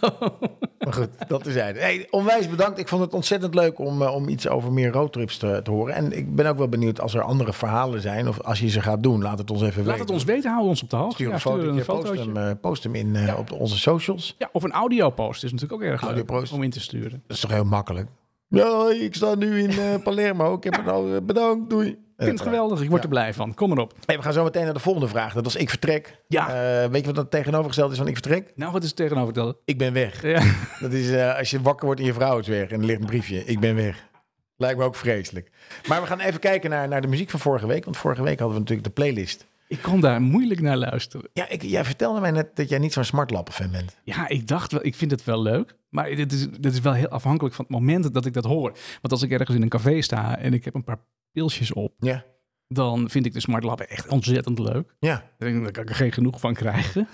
Oh.
maar goed, dat is het. Hey, onwijs bedankt. Ik vond het ontzettend leuk om, eh, om iets over meer roadtrips te, te horen. En ik ben ook wel benieuwd als er andere verhalen zijn. Of als je ze gaat doen, laat het ons even
Laat
weten.
het ons weten, hou ons op de hoogte.
Stuur
Ja,
een
stuur
fotootje,
een
post
fotootje.
hem, eh, post hem in eh, op onze socials.
Ja, of een audiopost is natuurlijk ook erg leuk
Audiopost.
om in te sturen.
Dat is toch heel makkelijk? Ja, ik sta nu in eh, Palermo. Ik heb het al. eh, Bedankt, doei.
Ik vind het geweldig, ik word er blij van. Kom erop.
Hey, we gaan zo meteen naar de volgende vraag. Dat was ik vertrek.
Ja.
Eh, weet je wat dat tegenovergesteld is van ik vertrek?
Nou, wat is het tegenover dat?
Ik ben weg.
Ja.
Dat is eh, als je wakker wordt en je vrouw is weg en er ligt een briefje. Ik ben weg. Lijkt me ook vreselijk. Maar we gaan even kijken naar, naar de muziek van vorige week. Want vorige week hadden we natuurlijk de playlist.
Ik kon daar moeilijk naar luisteren.
Ja, ik, jij vertelde mij net dat jij niet zo'n smartlappen-fan bent.
Ja, ik dacht wel, ik vind het wel leuk. Maar dit is, dit is wel heel afhankelijk van het moment dat ik dat hoor. Want als ik ergens in een café sta en ik heb een paar pilsjes op,
Ja.
dan vind ik de Smart Lab echt ontzettend leuk.
Ja.
Ik denk, Daar kan ik er geen genoeg van krijgen.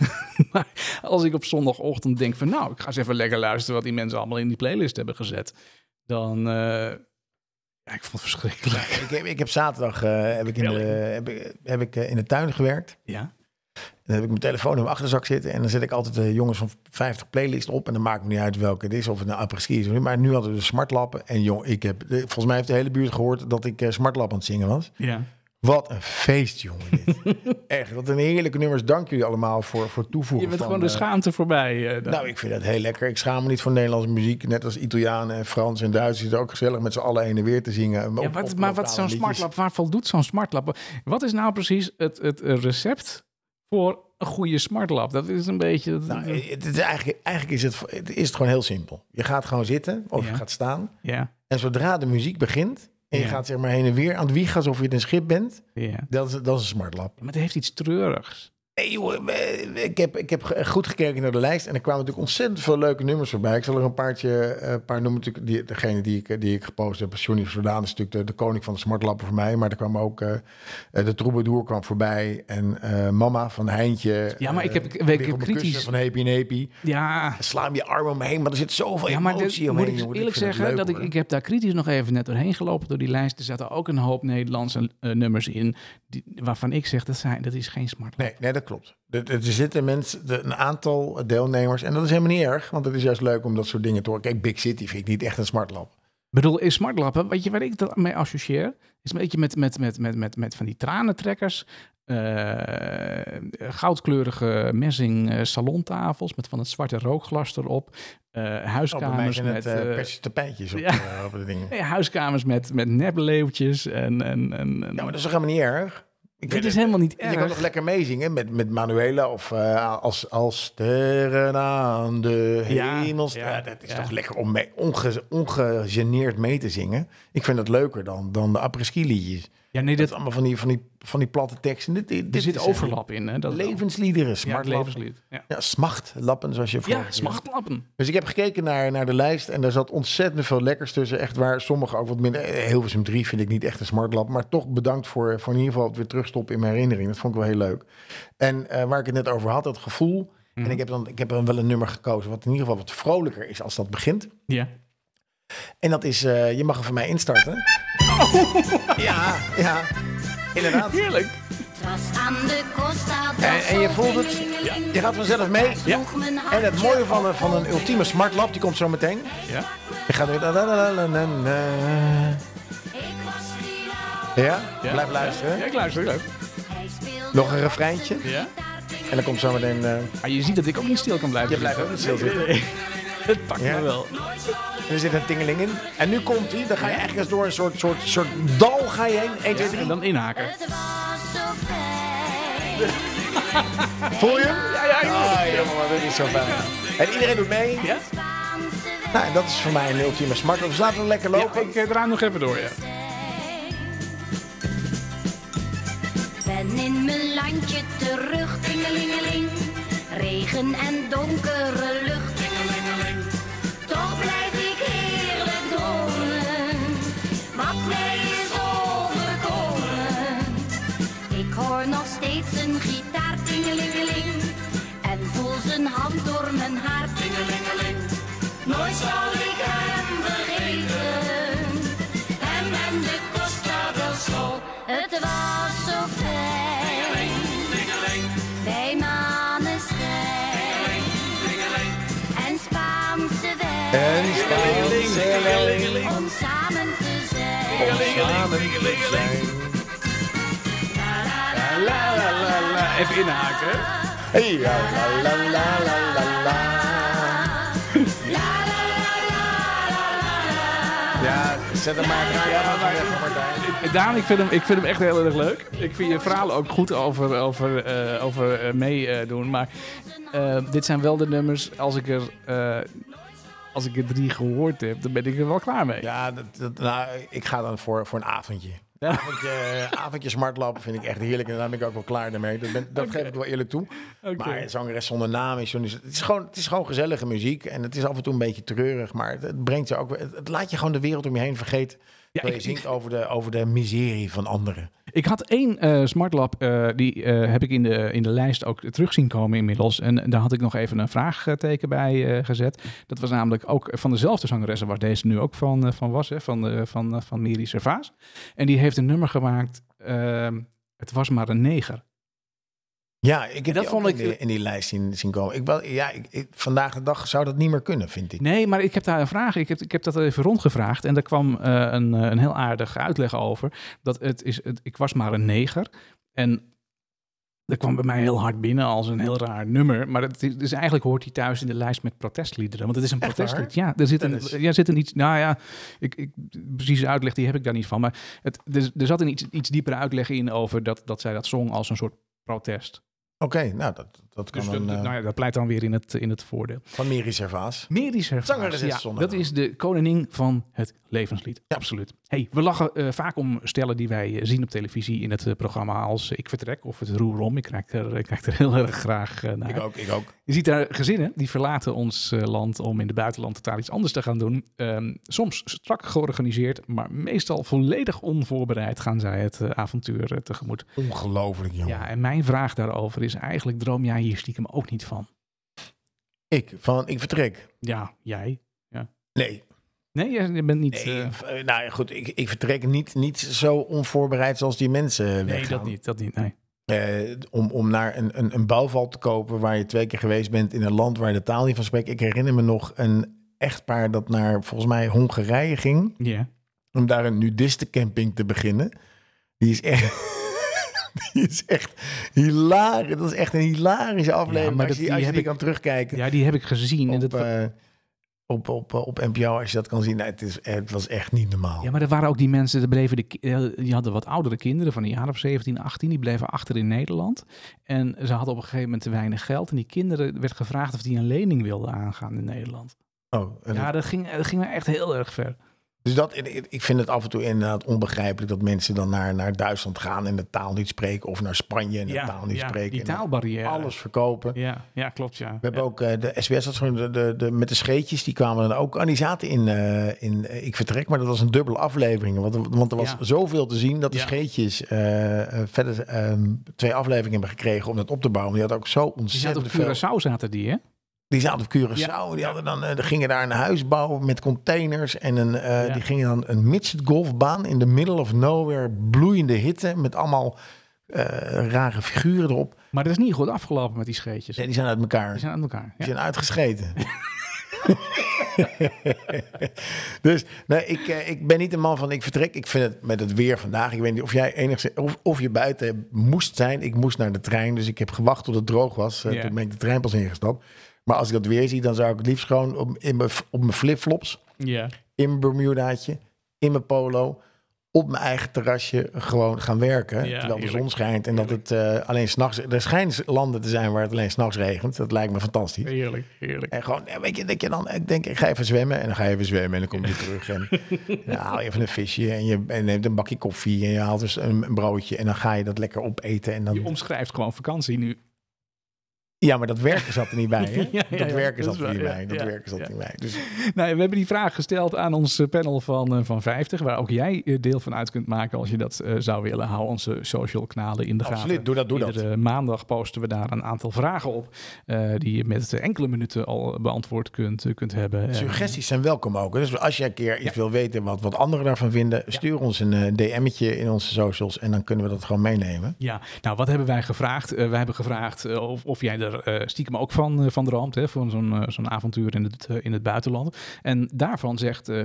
maar als ik op zondagochtend denk van nou, ik ga eens even lekker luisteren wat die mensen allemaal in die playlist hebben gezet. Dan, eh, ja, ik vond het verschrikkelijk.
Ik heb, ik heb zaterdag eh, heb ik in, de, heb, ik- heb ik, eh, in de tuin gewerkt.
Ja,
Dan heb ik mijn telefoon in mijn achterzak zitten. En dan zet ik altijd de jongens van 50 playlist op. En dan maakt het niet uit welke het is. Of het nou apres ski is. of niet. Maar nu hadden we de smartlappen. En jong, ik heb, volgens mij heeft de hele buurt gehoord dat ik eh, smartlap aan het zingen was.
ja.
Wat een feest, jongen. Dit. Echt, wat een heerlijke nummers. Dank jullie allemaal voor, voor het toevoegen.
Je bent
van,
gewoon de
eh,
schaamte voorbij. eh, dan.
Nou, ik vind dat heel lekker. Ik schaam me niet voor Nederlandse muziek. Net als Italianen en Frans en Duits. Het is ook gezellig met z'n allen heen en weer te zingen.
Ja,
op-
wat,
op
maar wat
lokale
is zo'n
liedjes.
smartlap? Waar voldoet zo'n smartlap? Wat is nou precies het, het eh, recept voor een goede smartlap? Dat is een beetje... dat-
Nou,
dat-
het is eigenlijk, eigenlijk is, het, het is het gewoon heel simpel. Je gaat gewoon zitten of
Ja.
je gaat staan.
ja,
En zodra de muziek begint en je
Ja.
gaat zeg maar heen en weer aan het wieg alsof je in een schip bent,
ja.
dat is, dat is een smartlap.
Maar het heeft iets treurigs.
Hey, joh, eh, ik heb, ik heb ge- goed gekeken naar de lijst en er kwamen natuurlijk ontzettend veel leuke nummers voorbij. Ik zal er een paartje, eh, een paar noemen. Natuurlijk, die, degene die ik, eh, die ik gepost heb, Johnny Jordaan is natuurlijk de, de koning van de smartlappen voor mij. Maar er kwam ook eh, eh, de troubadour kwam voorbij en eh, Mama van Heintje.
Ja, maar ik
eh,
heb- ik- ik
Lig
heb
op mijn
kritisch-
kussen van Happy en Happy.
Ja,
Sla hem je arm omheen, maar er zit zoveel
ja maar dit,
emotie
moet
omheen.
ik dus
jongen.
eerlijk
vind het
zeggen...
leuk,
dat ik,
hoor.
ik heb daar kritisch nog even net doorheen gelopen door die lijst. Er zaten ook een hoop Nederlandse eh, nummers in... Die, waarvan ik zeg, dat, zijn, dat is geen smartlap.
Nee, nee, dat klopt. Er, er zitten mensen, de- een aantal deelnemers, en dat is helemaal niet erg, want het is juist leuk om dat soort dingen te horen. Kijk, Big City vind ik niet echt een smartlap.
Ik bedoel, in smartlappen, weet je waar ik dat mee associeer? Is een beetje met, met, met, met, met, met van die tranentrekkers. eh, goudkleurige messing eh, salontafels met van het zwarte rookglas erop. eh,
Oh, bij mij
huiskamers
zijn
met...
het eh,
eh,
persische tapijtjes op,
ja.
eh, op de dingen.
nee, huiskamers met, met nepleeuwtjes en... en, en, en
Ja, maar dat is toch helemaal niet erg? Ik
dit
vind
is
het-
helemaal niet
en Je kan nog
erg.
lekker meezingen met, met Manuela of eh, als, als sterren aan de
Ja,
hemels.
ja,
Ja, dat is
ja.
toch lekker om mee, onge, ongegeneerd mee te zingen. Ik vind dat leuker dan, dan de apres-ski liedjes.
Ja, nee,
Dat
dat,
is allemaal van die, van die, van die platte teksten. Dit, dit,
er
dit
zit
is
overlap in. Hè? Dat
een Levensliederen,
Ja, het
smart
levenslied. Ja,
Ja, smachtlappen, zoals je vorige
ja
keer-
smachtlappen.
Dus ik heb gekeken naar, naar de lijst en daar zat ontzettend veel lekkers tussen. Echt waar, sommige ook wat minder. Eh, Hilversum 3 vind ik niet echt een smartlap. Maar toch bedankt voor, eh, voor in ieder geval het weer terugstoppen in mijn herinnering. Dat vond ik wel heel leuk. En eh, waar ik het net over had, dat gevoel.
Mhm.
En ik heb, dan, ik heb dan wel een nummer gekozen wat in ieder geval wat vrolijker is als dat begint.
Ja.
En dat is, eh, je mag er van mij instarten. Ja, ja, inderdaad.
Heerlijk.
was aan de Costa
En, en je voelt het, je gaat vanzelf mee.
Ja.
En het mooie van, een- van een ultieme smartlap, die komt zo meteen.
Ja.
Je gaat weer... Ja?
ja.
Blijf luisteren.
Ja, ik luister. ik luister.
Nog een refreintje.
Ja.
En dan komt zo meteen... eh,
Maar Ah, je ziet dat ik ook niet stil kan blijven
je blijft ook
zitten.
niet stil zitten.
Het pakt
Ja.
me wel.
En er zit een tingeling in. En nu komt hij. Dan ga je eigenlijk eens door een soort, soort, soort dal ga je heen. 1, 2, 3.
En dan inhaken.
Het was zo fijn.
Voel je hem?
Ja, ja,
Ah, jongen, maar dat is zo fijn. En iedereen doet mee.
Ja?
Spaanse
Nou, en dat is voor mij een ultieme smartlap. Dus laten we lekker lopen.
ik eh, draai nog even door, ja.
Ben in mijn landje terug, tingelingeling. Regen en donkere lucht, tingelingeling. Toch blijf ik heerlijk dromen. Wat mij is overkomen. Ik hoor nog steeds een gitaar, tingelingeling. En voel zijn hand door mijn haar, tingelingeling. Nooit zal ik hem vergeten. Hem en de Costa del Sol, het was zo fijn. Bij maneschijn en Spaanse wijn.
En staan.
Om samen te zijn.
La, la, la, la. Even inhaken.
Hey, la, la, la, la, la, la, la. Ja, zet hem maar. Ja, ja, maar even, Martijn.
Eh, Daan, ik vind, hem, ik vind hem echt heel erg leuk. Ik vind je verhalen ook goed over, over, eh, over eh, meedoen. maar eh, dit zijn wel de nummers, als ik er... eh, als ik er drie gehoord heb, dan ben ik er wel klaar mee.
Ja, dat, dat, nou, ik ga dan voor, voor een avondje.
Ja.
Avondje, eh, avondje smartlap vind ik echt heerlijk. En daar ben ik ook wel klaar daarmee. Dat, ben, dat geef ik wel eerlijk toe.
Oké.
Maar zangeres zonder naam is, zo'n- het is gewoon... Het is gewoon gezellige muziek. En het is af en toe een beetje treurig. Maar het, het brengt je ook... weer- Het, het laat je gewoon de wereld om je heen vergeten. Ja,
ik-
je zingt over, de, over de miserie van anderen.
Ik had één eh smartlab, eh, die eh, heb ik in de, in de lijst ook terug zien komen inmiddels. En daar had ik nog even een vraagteken bij eh, gezet. Dat was namelijk ook van dezelfde zangeres waar deze nu ook van, eh, van was, hè, van, de, van, eh, van Miri Servaas. En die heeft een nummer gemaakt, ehm, Het was maar een neger.
Ja, ik heb
dat
dat
vond
vond
ik-
in, die, in die lijst zien, zien komen. Ik, wel- ja, ik, ik- vandaag de dag zou dat niet meer kunnen, vind ik.
Nee, maar ik heb daar een vraag. Ik heb, ik heb dat even rondgevraagd. En daar kwam eh, een, eh, een heel aardige uitleg over. Dat het is, het, ik was maar een neger. En dat kwam bij mij heel hard binnen als een heel raar nummer. Maar het is, dus eigenlijk hoort hij thuis in de lijst met protestliederen. Want het is een
Echt
protestlied. Ja, er zit
Dennis.
een, ja, zit een iets... Nou ja, ik, ik, precieze uitleg die heb ik daar niet van. Maar het, dus, er, er zat een iets, iets diepere uitleg in over dat, dat zij dat zong als een soort protest.
Oké, nou, dat, dat kan
Dus dat,
een... eh,
nou ja, dat pleit dan weer in het, in het voordeel.
Van Miri Servaas.
Mary Servaas.
Zangeres is
ja,
zonder
dat
naam.
is de koningin van het levenslied. Absoluut. Hey, we lachen eh, vaak om stellen die wij eh, zien op televisie in het eh, programma als Ik Vertrek of Het Roer Om. Ik kijk er, ik kijk er heel erg graag eh, naar.
Ik ook, ik ook.
Je ziet daar gezinnen die verlaten ons eh, land om in het buitenland totaal iets anders te gaan doen. Ehm, soms strak georganiseerd, maar meestal volledig onvoorbereid gaan zij het eh, avontuur eh, tegemoet.
Ongelooflijk, jongen.
Ja, en mijn vraag daarover is eigenlijk droom jij hier stiekem ook niet van?
Ik, van ik vertrek.
Ja, jij?
Nee,
Nee, jij- je bent niet...
nee
eh,
v- eh, nou ja, goed, ik, ik vertrek niet, niet zo onvoorbereid zoals die mensen eh,
Nee,
weggaan.
dat niet, dat niet, nee.
Eh, om, om naar een, een, een bouwval te kopen waar je twee keer geweest bent in een land waar je de taal niet van spreekt. Ik herinner me nog een echtpaar dat naar volgens mij Hongarije ging
Ja.
om daar een nudistencamping te beginnen. Die is echt... Die is echt hilarisch. Dat is echt een hilarische aflevering.
maar
maar als je,
dat- die
als je
heb
die
ik-
kan terugkijken.
Ja, die heb ik gezien. en
op,
dat,
eh, op, op, eh, op NPO, als je dat kan zien. Nou, het, is, het was echt niet normaal.
ja, maar er waren ook die mensen, er bleven de, ki- eh, die hadden wat oudere kinderen van een jaar of 17, 18, die bleven achter in Nederland. En ze hadden op een gegeven moment te weinig geld. En die kinderen werd gevraagd of die een lening wilden aangaan in Nederland.
Oh, en
Ja, dat ging, dat ging me echt heel erg ver.
Dus dat, ik vind het af en toe inderdaad onbegrijpelijk dat mensen dan naar, naar Duitsland gaan en de taal niet spreken. Of naar Spanje en de taal niet spreken.
die
en dan
taalbarrière.
Alles verkopen.
Ja, ja klopt, ja.
We hebben ook eh, de SBS, dat gewoon de, de, de, met de scheetjes, die kwamen dan ook. En die zaten in, eh, in eh, Ik Vertrek, maar dat was een dubbele aflevering. Want, er- want er was
Ja.
zoveel te zien dat de
Ja.
scheetjes eh, eh, verder ehm, twee afleveringen hebben gekregen om dat op te bouwen. Die hadden ook zo
die zaten op
ontzettend veel
Curaçao, zaten die, hè?
die zaten op Curaçao.
Ja.
Die hadden dan, eh, die gingen daar een huis bouwen met containers. En een, eh,
Ja.
die gingen dan een midget golfbaan in de middle of nowhere. Bloeiende hitte met allemaal eh, rare figuren erop.
Maar dat is niet goed afgelopen met die scheetjes.
Nee, die
Die
zijn uit elkaar.
zijn aan elkaar.
Die
Ja.
zijn uitgescheten. dus nee, ik, eh, ik ben niet een man van ik vertrek. Ik vind het met het weer vandaag. Ik weet niet of jij enigszins. Of, of je buiten moest zijn. Ik moest naar de trein. Dus ik heb gewacht tot het droog was. Eh,
Ja.
Toen ben ik de trein pas ingestapt. Maar als ik dat weer zie, dan zou ik het liefst gewoon op, in mijn, op mijn flipflops.
Ja.
In mijn Bermudaatje. In mijn polo. Op mijn eigen terrasje gewoon gaan werken.
Ja,
terwijl de
heerlijk.
zon schijnt. En dat het eh, alleen s'nachts. Er schijnen landen te zijn waar het alleen s'nachts regent. Dat lijkt me fantastisch.
Heerlijk, heerlijk.
En gewoon, eh, weet je, dat je dan, ik denk, ik ga even zwemmen. En dan ga je even zwemmen en dan kom je terug. En dan haal je even een visje en je en neemt een bakje koffie en je haalt dus een, een broodje. En dan ga je dat lekker opeten. En
Je
dan,
omschrijft gewoon vakantie nu.
ja, maar dat werken zat er niet bij, hè?
Ja, ja,
dat
ja,
werken zat
dat is
er niet
waar, ja,
bij. Dat
ja,
werken zat
ja.
er niet bij. Dus
Nou, ja, we hebben die vraag gesteld aan ons eh, panel van, eh, van 50, waar ook jij eh, deel van uit kunt maken als je dat eh, zou willen. Hou onze social kanalen in de
absoluut,
gaten.
doe dat, doe dat.
Iedere eh, maandag posten we daar een aantal vragen op, eh, die je met enkele minuten al beantwoord kunt, eh, kunt hebben. En-
Suggesties zijn welkom ook. Dus als jij een keer iets wil weten wat, wat anderen daarvan vinden, stuur ons een eh, DM'tje in onze socials en dan kunnen we dat gewoon meenemen.
Ja, nou wat hebben wij gevraagd? Eh, wij hebben gevraagd eh, of, of jij er eh, stiekem ook van, eh, van droomt, hè, van zo'n eh, zo'n avontuur in het, eh, in het buitenland. En daarvan zegt eh 15,4%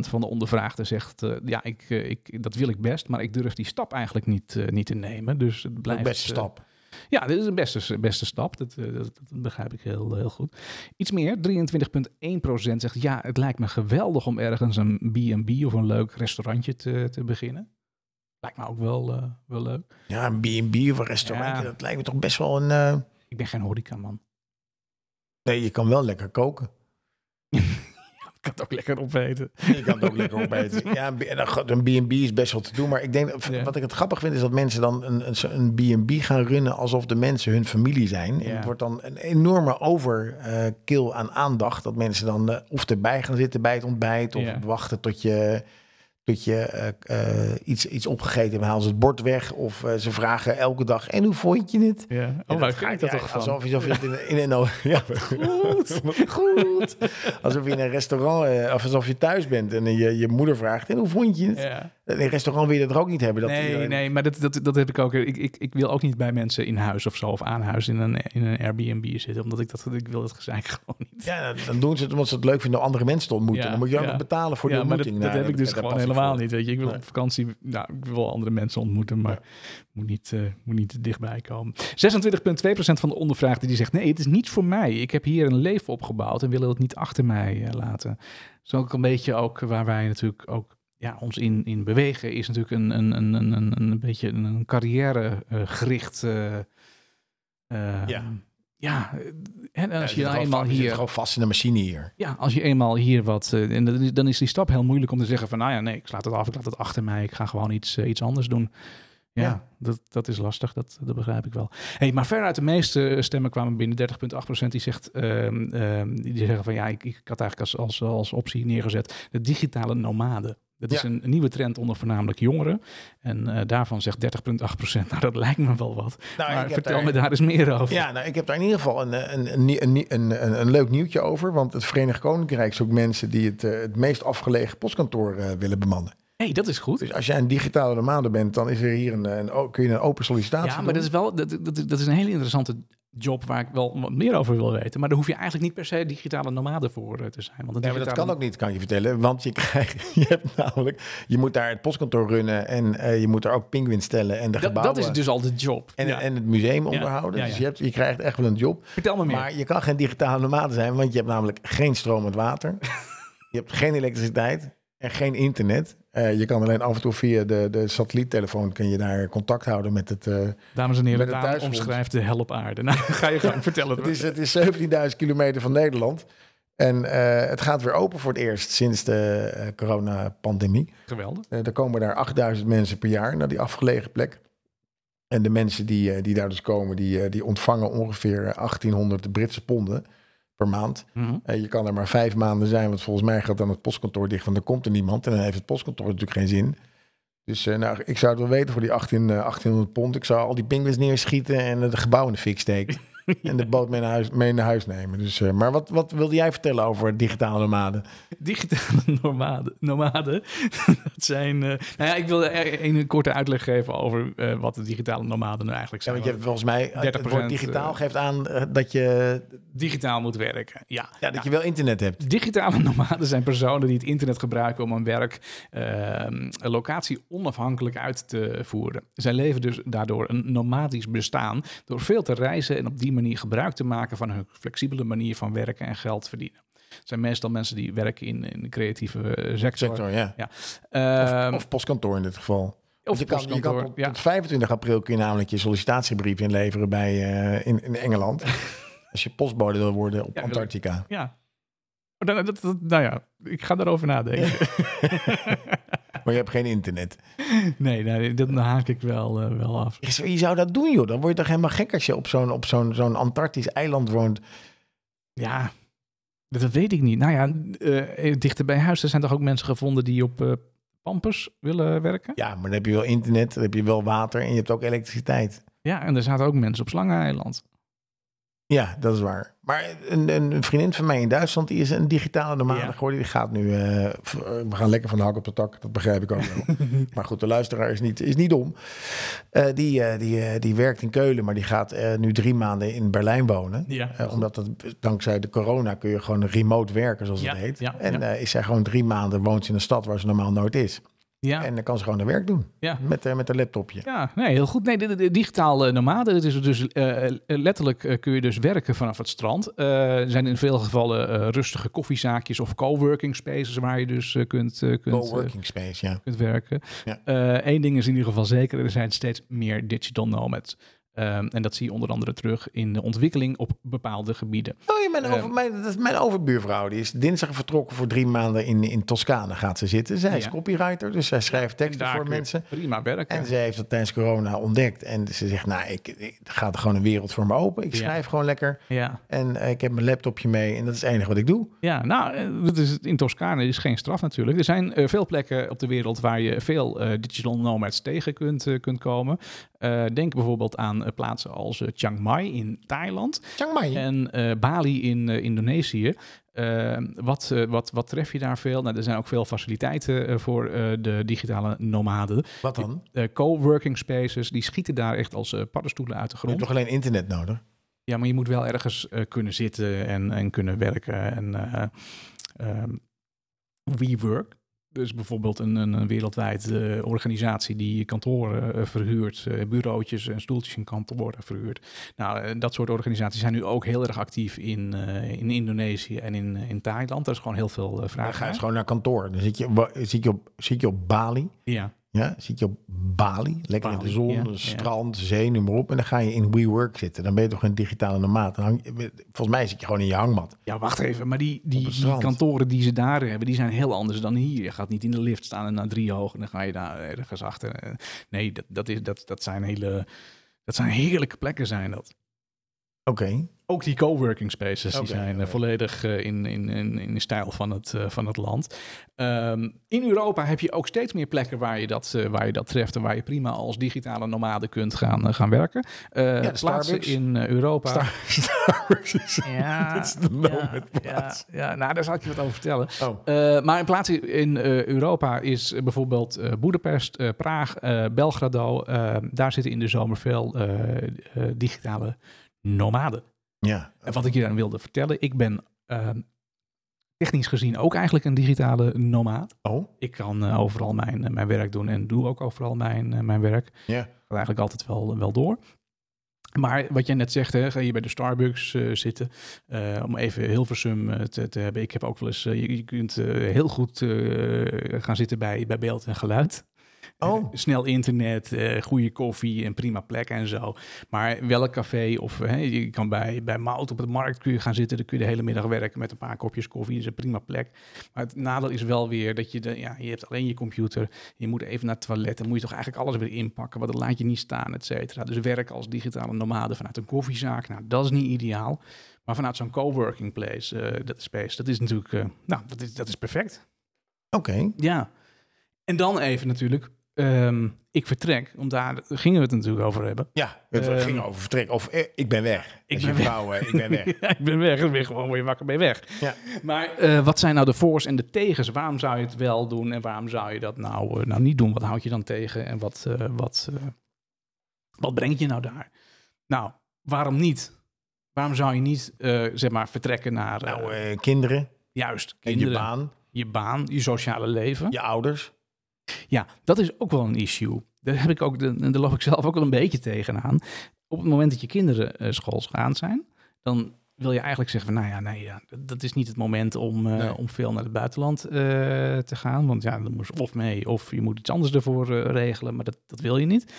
van de ondervraagden zegt, eh, ja, ik, eh, ik, dat wil ik best, maar ik durf die stap eigenlijk niet, eh, niet te nemen. Dus het blijft...
Ook beste
eh,
stap.
ja, dit is een beste, beste stap. Dat, eh, dat, dat begrijp ik heel, heel goed. Iets meer, 23,1% zegt ja, het lijkt me geweldig om ergens een B&B of een leuk restaurantje te, te beginnen. Lijkt me ook wel, eh, wel leuk.
Ja, een B&B of een restaurantje,
Ja.
dat lijkt me toch best wel een... eh,
Ik ben geen horecaman.
Nee, je kan wel lekker koken.
Ik kan het ook lekker opeten.
Je kan het ook lekker opeten. Ja, een B- en dan gaat- een B&B is best wel te doen. Maar ik denk, dat-
Ja.
wat ik het grappig vind, is dat mensen dan een- een- een B&B gaan runnen alsof de mensen hun familie zijn.
Ja.
En het wordt dan een enorme overkill aan aandacht. Dat mensen dan eh, of erbij gaan zitten bij het ontbijt of
Ja.
wachten tot je... tot je eh, eh, iets, iets opgegeten hebt, halen ze het bord weg. Of eh, ze vragen elke dag, en hoe vond je het?
Ja. Oh,
Ja,
waar kijk dat
ja,
toch van?
Alsof je, alsof je het in, in een... Ja.
Goed,
Goed. Alsof je in een restaurant, eh, of alsof je thuis bent en je, je moeder vraagt, en hoe vond je het?
Ja.
In restaurant wil je dat er ook niet hebben. Dat
nee,
iedereen-
nee, maar dat, dat, dat heb ik ook. Ik, ik, ik wil ook niet bij mensen in huis of zo of aan huis in een, in een Airbnb zitten, omdat ik dat ik wil dat gezeik gewoon niet.
Ja, dan doen ze het omdat ze het leuk vinden om andere mensen te ontmoeten.
Ja,
dan moet je ook
ja.
nog betalen voor die
Ja, maar dat,
ontmoeting.
dat
Nou,
heb ik dus
daar
gewoon
pas
helemaal
voor.
niet. Weet je, ik wil op vakantie, nou, ik wil andere mensen ontmoeten, maar moet, niet, eh, moet niet te dichtbij komen. 26,2% van de ondervraagden die zegt: nee, het is niet voor mij. Ik heb hier een leven opgebouwd en wil het niet achter mij eh, laten. Zo ook een beetje ook waar wij natuurlijk ook. Ja, ons in, in bewegen is natuurlijk een, een, een, een, een, een beetje een, een carrière eh, gericht. eh, eh,
Ja.
ja, eh, en
Ja, zit
als je nou
gewoon
eenmaal
va- zit
hier
gewoon vast in de machine hier.
ja, als je eenmaal hier wat. eh, en dan is, dan is die stap heel moeilijk om te zeggen van nou ja, nee, ik slaat het af, ik laat het achter mij, ik ga gewoon iets, eh, iets anders doen. Ja,
Ja.
Dat, dat is lastig, dat, dat begrijp ik wel. Hey, maar veruit de meeste eh, stemmen kwamen binnen 30,8% die zegt ehm, ehm, die zeggen van ja, ik, ik had eigenlijk als, als, als optie neergezet de digitale nomade. Dat is
Ja.
een, een nieuwe trend onder voornamelijk jongeren. En eh, daarvan zegt 30,8%, nou dat lijkt me wel
Nou,
wat.
ik
maar
heb
vertel
daar-
me daar eens meer over.
Ja, nou, ik heb daar in ieder geval een, eh, een, een, nie- een, nie- een, een, een leuk nieuwtje over. Want het Verenigd Koninkrijk zoekt mensen die het, eh, het meest afgelegen postkantoor eh, willen bemannen.
hey, dat is goed.
Dus als jij een digitale nomade bent, dan is er hier een, een, o- kun je een open sollicitatie
Ja, maar
doen.
dat is wel dat, dat, dat is een hele interessante job waar ik wel wat meer over wil weten. Maar daar hoef je eigenlijk niet per se digitale nomade voor eh, te zijn. Want een
Nee, maar dat
digitale-
kan ook niet, kan ik je vertellen. Want je, krijgt, je hebt namelijk, je moet daar het postkantoor runnen en eh, je moet daar ook pinguïns stellen en de
Dat,
gebouwen.
dat is dus al de job.
en,
Ja.
en het museum onderhouden.
ja, ja.
Dus je, hebt, je krijgt echt wel een job.
Vertel me meer.
Maar je kan geen digitale nomade zijn, want je hebt namelijk geen stromend water. je hebt geen elektriciteit en geen internet. Eh, je kan alleen af en toe via de, de satelliettelefoon kun je daar contact houden met het... eh,
Dames en heren,
met het
daar
thuisfront.
omschrijft de hel op aarde. Nou, ga je gang vertellen.
het, is, het is 17.000 kilometer van Nederland. En eh, het gaat weer open voor het eerst sinds de eh, coronapandemie.
Geweldig.
Eh, er komen daar 8000 mensen per jaar naar die afgelegen plek. En de mensen die, eh, die daar dus komen, die, eh, die ontvangen ongeveer 1800 Britse ponden per maand.
Mhm.
Eh, je kan er maar vijf maanden zijn, want volgens mij gaat dan het postkantoor dicht, want dan komt er niemand. En dan heeft het postkantoor natuurlijk geen zin. Dus eh, nou, ik zou het wel weten voor die 18, eh, 1800 pond. Ik zou al die pinguïns neerschieten en het gebouw in de fik steken. En de boot mee naar huis, mee naar huis nemen. Dus, eh, maar wat, wat wilde jij vertellen over digitale nomaden?
Digitale nomaden. nomaden dat zijn. eh, nou ja, ik wilde er een korte uitleg geven over eh, wat de digitale nomaden nou eigenlijk
Ja,
zijn.
want je hebt volgens mij, eh, het
30%
woord digitaal
eh,
geeft aan eh, dat, je,
Digitaal moet werken. Ja.
ja, dat je wel internet hebt.
Digitale nomaden zijn personen die het internet gebruiken om hun werk ehm, een locatie onafhankelijk uit te voeren. Zij leven dus daardoor een nomadisch bestaan door veel te reizen en op die manier gebruik te maken van hun flexibele manier van werken en geld verdienen. Het zijn meestal mensen die werken in, in de creatieve eh, sector.
Sector, ja.
Ehm,
Of postkantoor in dit geval.
of
je kan, je kan
postkantoor,
tot,
ja.
tot 25 april kun je namelijk je sollicitatiebrief inleveren bij, eh, in, in Engeland. Als je postbode wil worden op
Ja, wil ik.
Antarctica.
ja. Maar dan- dat- dat- nou ja, ik ga daarover nadenken.
Maar je hebt geen internet.
Nee, nee, dat haak ik wel, eh, wel af.
Ik zei, Je zou dat doen, joh. Dan word je toch helemaal gek als je op zo'n, op zo'n, zo'n Antarctisch eiland woont.
Ja, dat weet ik niet. Nou ja, eh, dichter bij huis, er zijn toch ook mensen gevonden die op eh pampers willen werken?
Ja, maar dan heb je wel internet, dan heb je wel water en je hebt ook elektriciteit.
Ja, en er zaten ook mensen op Slangeneiland.
Ja, dat is waar. Maar een, een, een vriendin van mij in Duitsland, die is een digitale nomade
Ja.
geworden. Die gaat nu, eh, v- eh, we gaan lekker van de hak op de tak, dat begrijp ik ook wel. maar goed, de luisteraar is niet, is niet dom. Eh, die, eh, die, eh, die werkt in Keulen, maar die gaat eh, nu drie maanden in Berlijn wonen.
Ja.
Eh, omdat dat, dankzij de corona kun je gewoon remote werken, zoals
Ja,
het heet.
ja,
en
ja.
eh, is zij gewoon drie maanden woont ze in een stad waar ze normaal nooit is.
Ja,
En dan kan ze gewoon haar werk doen
ja.
met, eh, met haar laptopje.
Ja, nee, heel goed. Nee, de, de- de digitale eh, nomaden, dat is dus eh, letterlijk eh, kun je dus werken vanaf het strand. Eh, er zijn in veel gevallen eh, rustige koffiezaakjes of coworking spaces waar je dus eh, kunt, eh, kunt, eh,
Coworking space, ja.
kunt werken.
Ja.
Eén ding is in ieder geval zeker, er zijn steeds meer digital nomads. Ehm, en dat zie je onder andere terug in de ontwikkeling op bepaalde gebieden.
Oh, ja, mijn, over, mijn, dat is mijn overbuurvrouw die is dinsdag vertrokken voor drie maanden in, in Toscane gaat ze zitten. Zij is
Ja.
copywriter, dus zij schrijft
En
teksten
daar
voor
kun je
mensen.
Prima werken.
En zij heeft dat tijdens corona ontdekt. En ze zegt, nou, ik, ik er gaat gewoon een wereld voor me open. Ik
Ja.
schrijf gewoon lekker.
ja.
En eh, ik heb mijn laptopje mee en dat is het enige wat ik doe.
ja, nou, eh, dat is, in Toscane is geen straf natuurlijk. Er zijn eh, veel plekken op de wereld waar je veel eh, digital nomads tegen kunt, eh, kunt komen. Eh, denk bijvoorbeeld aan eh, plaatsen als eh, Chiang Mai in Thailand
Chiang Mai.
en eh, Bali in eh, Indonesië. Eh, wat, eh, wat, wat tref je daar veel? Nou, er zijn ook veel faciliteiten eh, voor eh, de digitale nomaden.
Wat dan?
Eh, coworking spaces, die schieten daar echt als eh, paddenstoelen uit de
Je hebt
grond.
toch alleen internet nodig?
Ja, maar je moet wel ergens eh, kunnen zitten en, en kunnen werken. En eh, ehm, WeWork, dus bijvoorbeeld een, een, een wereldwijd eh, organisatie die kantoren eh, verhuurt, eh, bureautjes en stoeltjes in kantoren verhuurt. Nou, eh, dat soort organisaties zijn nu ook heel erg actief in, eh, in Indonesië en in, in Thailand. Daar is gewoon heel veel eh,
Dan
vraag
ga je
naar.
gewoon naar kantoor. Dan zit je, wa- zit je, op, zit je op Bali.
Ja,
Ja, zit je op Bali, lekker in de
Bali,
zon,
ja, ja.
strand, zee, noem maar op. En dan ga je in WeWork zitten. Dan ben je toch een digitale nomaat. Dan hang je- volgens mij zit je gewoon in je hangmat.
ja wacht even, maar die, die,
het
die
strand.
kantoren die ze daar hebben, die zijn heel anders dan hier. Je gaat niet in de lift staan en naar drie hoog en dan ga je daar ergens achter. Eh, Nee, dat, dat, is, dat, dat zijn hele... Dat zijn heerlijke plekken, zijn dat.
Oké,
Ook die coworking spaces
Oké,
die zijn eh,
oké.
volledig eh, in, in, in, in de stijl van het, eh, van het land. Ehm, in Europa heb je ook steeds meer plekken waar je dat, eh, waar je dat treft en waar je prima als digitale nomade kunt gaan, eh, gaan werken. Eh,
de
plaatsen
Starbucks.
in eh, Europa.
Star- Starbucks is-
ja,
dat is de
ja,
nomad
ja,
plaats.
ja, nou daar zal ik je wat over vertellen.
Oh,
Eh, maar in plaatsen in eh, Europa is eh, bijvoorbeeld eh Boedapest, eh, Praag, eh, Belgrado. eh, daar zitten in de zomer veel eh, eh, digitale nomaden.
ja.
En wat ik je dan wilde vertellen, ik ben eh, technisch gezien ook eigenlijk een digitale nomaat.
Oh,
Ik kan eh, overal mijn, eh, mijn werk doen en doe ook overal mijn, eh, mijn werk.
ja.
Gaat eigenlijk altijd wel, wel door. Maar wat jij net zegt, hè, ga je bij de Starbucks eh, zitten, eh, om even Hilversum eh, te, te hebben. Ik heb ook wel eens, eh, je, je kunt eh, heel goed eh, gaan zitten bij, bij beeld en geluid.
Oh,
Eh, snel internet, eh, goede koffie en prima plek en zo. Maar welk café of hè, je kan bij, bij Mout op de markt kun je gaan zitten. Dan kun je de hele middag werken met een paar kopjes koffie. Dat is een prima plek. Maar het nadeel is wel weer dat je, de, ja, je hebt alleen je computer. Je moet even naar het toilet. Dan moet je toch eigenlijk alles weer inpakken. Want dat laat je niet staan, et cetera. Dus werk als digitale nomade vanuit een koffiezaak. Nou, dat is niet ideaal. Maar vanuit zo'n coworking place, eh, dat space, dat is natuurlijk, eh, nou, dat is, dat is perfect.
oké.
Ja. En dan even natuurlijk, ehm, ik vertrek, want daar gingen we het natuurlijk over hebben.
Ja, het
Ehm,
ging over vertrek. Of eh, ik ben weg. Ik
ben
ben vrouw, eh, ik ben weg.
Ja, ik ben weg, ik ben gewoon weer wakker ben weg.
Ja.
Maar eh, wat zijn nou de voor's en de tegens? Waarom zou je het wel doen en waarom zou je dat nou, eh, nou niet doen? Wat houd je dan tegen en wat, eh, wat, eh, wat brengt je nou daar? Nou, waarom niet? Waarom zou je niet, eh, zeg maar, vertrekken naar eh,
Nou, eh, kinderen,
juist
en je
kinderen,
baan,
je baan, je sociale leven?
je ouders.
Ja, dat is ook wel een issue. Daar, heb ik ook, de- daar loop ik zelf ook wel een beetje tegenaan. Op het moment dat je kinderen eh schoolsgaand zijn, dan wil je eigenlijk zeggen van, nou ja, nee, ja, dat is niet het moment om, eh,
Nee.
om veel naar het buitenland eh, te gaan. Want ja, dan moest of mee, of je moet iets anders ervoor eh, regelen, maar dat, dat wil je niet.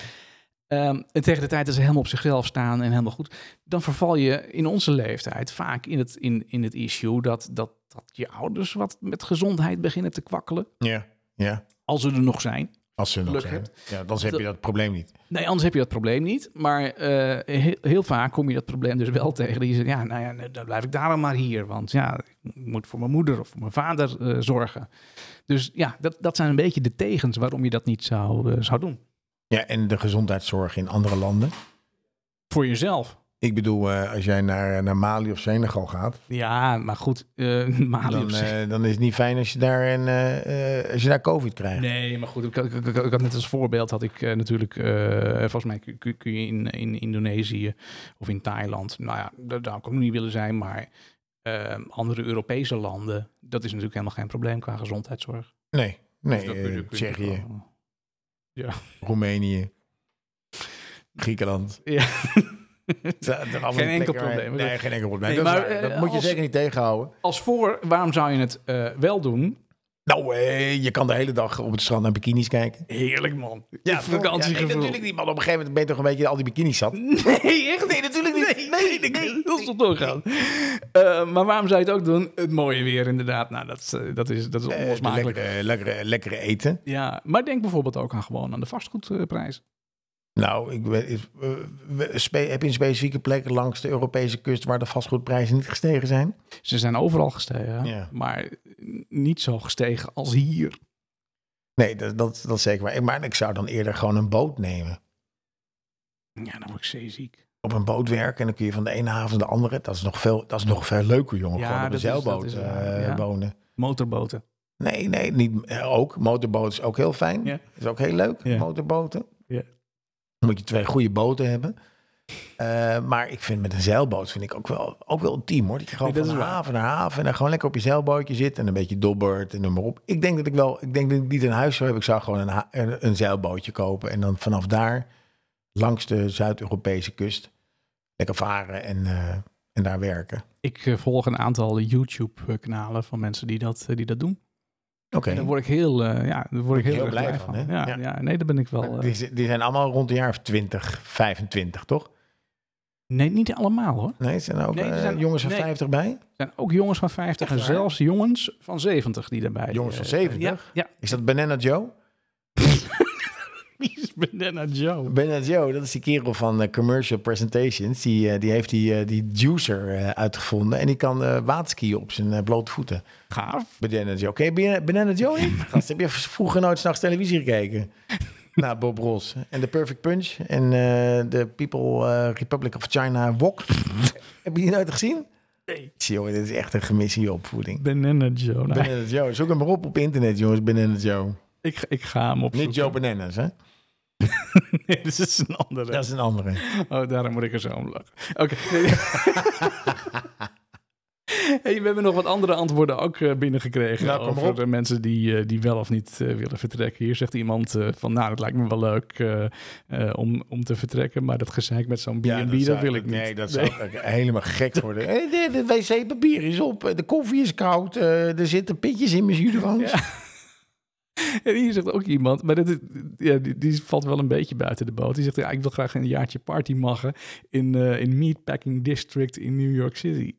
Ehm, en tegen de tijd dat ze helemaal op zichzelf staan en helemaal goed, dan verval je in onze leeftijd vaak in het, in, in het issue dat, dat, dat je ouders wat met gezondheid beginnen te kwakkelen.
Ja, ja.
Als ze er nog zijn.
Als ze nog
Geluk
zijn. Ja, dan heb
Dat-
je dat probleem niet.
Nee, anders heb je dat probleem niet. Maar eh, heel, heel vaak kom je dat probleem dus wel tegen. Die zegt, ja, nou ja, nee, dan blijf ik daarom maar hier. Want ja, ik moet voor mijn moeder of voor mijn vader eh, zorgen. Dus ja, dat, dat zijn een beetje de tegens waarom je dat niet zou, eh, zou doen.
Ja, en de gezondheidszorg in andere landen.
Voor jezelf.
Ik bedoel, eh, als jij naar, naar Mali of Senegal gaat,
Ja, maar goed, eh Mali op
dan,
zich.
eh, dan is het niet fijn als je daar, een, eh, eh, als je daar COVID krijgt.
Nee, maar goed, ik, ik, ik- ik had net als voorbeeld had ik eh, natuurlijk, eh, volgens mij kun- kun, kun je in, in Indonesië of in Thailand, nou ja, daar, daar kan ik niet willen zijn, maar eh, andere Europese landen, dat is natuurlijk helemaal geen probleem qua gezondheidszorg.
Nee, nee,
Dus dat
eh,
kun je- kun je
Tsjechië,
gewoon-
Roemenië, Griekenland.
Ja.
Het zijn allemaal
enkel
plekken waar-
probleem.
Nee, geen enkel probleem.
Nee,
dat is
maar,
waar.
eh,
dat moet je
als-
zeker niet tegenhouden.
Als voor, waarom zou je het eh, wel doen?
Nou, eh, je kan de hele dag op het strand naar bikinis kijken.
Heerlijk man.
Ja, nee, natuurlijk niet, man. Op een gegeven moment ben je toch een beetje in al die bikinis zat. Eh,
Nee, echt? Nee, natuurlijk niet. Nee, nee, nee, dat zal doorgaan. Eh, maar waarom zou je het ook doen? Het mooie weer inderdaad. Nou, dat, is, eh, dat is, dat is
Eh, de
onlosmakelijk.
lekkere, lekkere, lekkere eten.
Ja, maar denk bijvoorbeeld ook aan gewoon aan de vastgoedprijs.
Nou, ik weet, is- eh, we- spe- heb je een specifieke plek langs de Europese kust waar de vastgoedprijzen niet gestegen zijn?
Ze zijn overal gestegen,
Ja.
maar niet zo gestegen als hier.
Nee, dat, dat, dat is zeker waar. Maar ik zou dan eerder gewoon een boot nemen.
Ja, dan word ik zeeziek.
op een boot werken en dan kun je van de ene haven naar de andere. Dat is nog veel, dat is nog veel leuker, jongen.
Ja,
Gewoon op een
dat is- dat
zeilboot
is waar,
eh,
ja.
wonen.
Motorboten.
Nee, nee, niet, eh, ook. Motorboot is ook heel fijn.
Ja.
Is ook heel leuk,
Ja.
motorboten.
Ja.
Dan moet je twee goede boten hebben. Eh, maar ik vind met een zeilboot vind ik ook wel, ook wel een team hoor. Dat je gewoon
Nee, dat
van
is waar.
haven naar haven en dan gewoon lekker op je zeilbootje zit en een beetje dobbert en noem maar op. Ik denk dat ik wel, ik denk dat ik niet een huis zou hebben. Ik zou gewoon een, ha- een, een zeilbootje kopen en dan vanaf daar langs de Zuid-Europese kust lekker varen en, eh, en daar werken.
Ik eh, volg een aantal YouTube-kanalen van mensen die dat, eh, die dat doen.
Oké.
En daar word ik heel, eh, ja, daar word ik heel,
heel
erg
blij
blij
van,
van.
hè?
Ja,
Ja.
ja. nee, daar ben ik wel. eh,
Die, z- die zijn allemaal rond de jaar of 20, 25, toch?
nee, niet allemaal hoor.
Nee, zijn er ook
Nee, er
eh,
zijn-
jongens van
nee.
50 bij?
Er zijn ook jongens van 50 en
Echt waar?
zelfs jongens van 70 die daarbij.
Jongens van
eh,
70?
Ja, ja.
Is dat Banana Joe?
Wie is Banana Joe?
Banana Joe, dat is die kerel van eh, Commercial Presentations. Die, eh, die heeft die, eh, die juicer eh, uitgevonden. En die kan eh waterskiën op zijn eh, blote voeten.
Gaaf.
Banana Joe. Ken je Ban- Banana Joe niet? Gast, heb je vroeger nooit s'nachts televisie gekeken? Naar Bob Ross. En The Perfect Punch. En eh The People eh, Republic of China Wok. heb je die nooit gezien?
Nee.
Tjie, Jongen, dit is echt een gemis in je opvoeding.
Banana Joe. Nou,
Banana Joe. Zoek hem maar op op internet, jongens. Banana Joe.
ik, ga- ik ga hem opzoeken.
Niet Joe Bananas, hè?
Nee, dit is een andere.
Dat is een andere.
Oh, daarom moet ik er zo om lachen. Oké. Hey, we hebben nog wat andere antwoorden ook eh, binnengekregen
Nou, kom maar
over
op.
de mensen die, eh, die wel of niet eh, willen vertrekken. Hier zegt iemand eh, van, nou, het lijkt me wel leuk eh, eh, om, om te vertrekken, maar dat gezeik met zo'n B&B, dat,
zou-
wil ik niet.
Nee, dat zou ik helemaal gek worden. Eh, De, de wc-papier is op, eh, de koffie is koud, eh, er zitten pitjes in mijn jurons.
Ja. En hier zegt ook iemand, maar dat is, ja, die, die valt wel een beetje buiten de boot. Die zegt, ja, ik wil graag een jaartje party maggen in, eh, in Meatpacking District in New York City.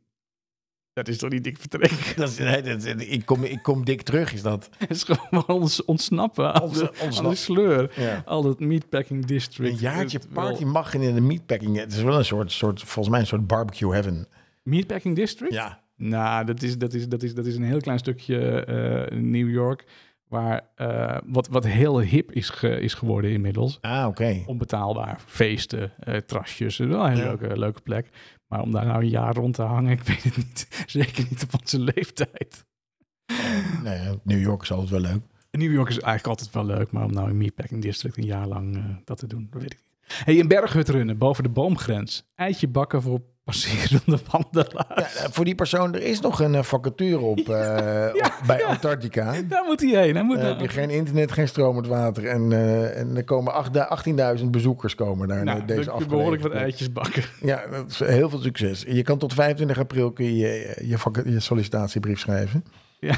Dat is toch niet dik vertrek?
Dat is, nee, dat, is- ik, kom, ik kom dik terug, is dat.
Het is gewoon ons, ontsnappen aan,
Ons-
de,
ontsnappen.
aan de sleur.
Ja.
Al dat meatpacking district.
Een jaartje
Het wel-
party mag in de meatpacking. Het is wel een soort, soort, volgens mij een soort barbecue heaven.
Meatpacking district?
Ja,
Nou, dat is, dat, is, dat, is, dat is een heel klein stukje eh, New York. Waar, eh, wat, wat heel hip is, ge- is geworden inmiddels.
ah, oké.
Onbetaalbaar. Feesten, eh, trasjes. Het is Wel een hele
Ja.
leuke, leuke plek. Maar om daar nou een jaar rond te hangen, ik weet het niet. Zeker niet op onze leeftijd.
Nee, eh, New York is altijd wel leuk.
New York is eigenlijk altijd wel leuk, maar om nou in Meatpacking District een jaar lang eh, dat te doen, dat weet ik niet. hey, een berghut runnen boven de boomgrens. Eitje bakken voor passerende wandelaars.
Ja, Eh, voor die persoon, er is nog een eh, vacature op, eh, op- bij Antarctica.
Daar moet hij heen. Hij moet
Dan
naar-
heb je geen internet, geen stromend water. En, eh, en er komen acht- 18.000 bezoekers komen daar
nou,
naar deze
dan kun je behoorlijk wat
afgelegen plek.
eitjes bakken.
Ja, dat is heel veel succes. Je kan tot 25 april kun je eh, je, je, vac- je sollicitatiebrief schrijven.
Ja.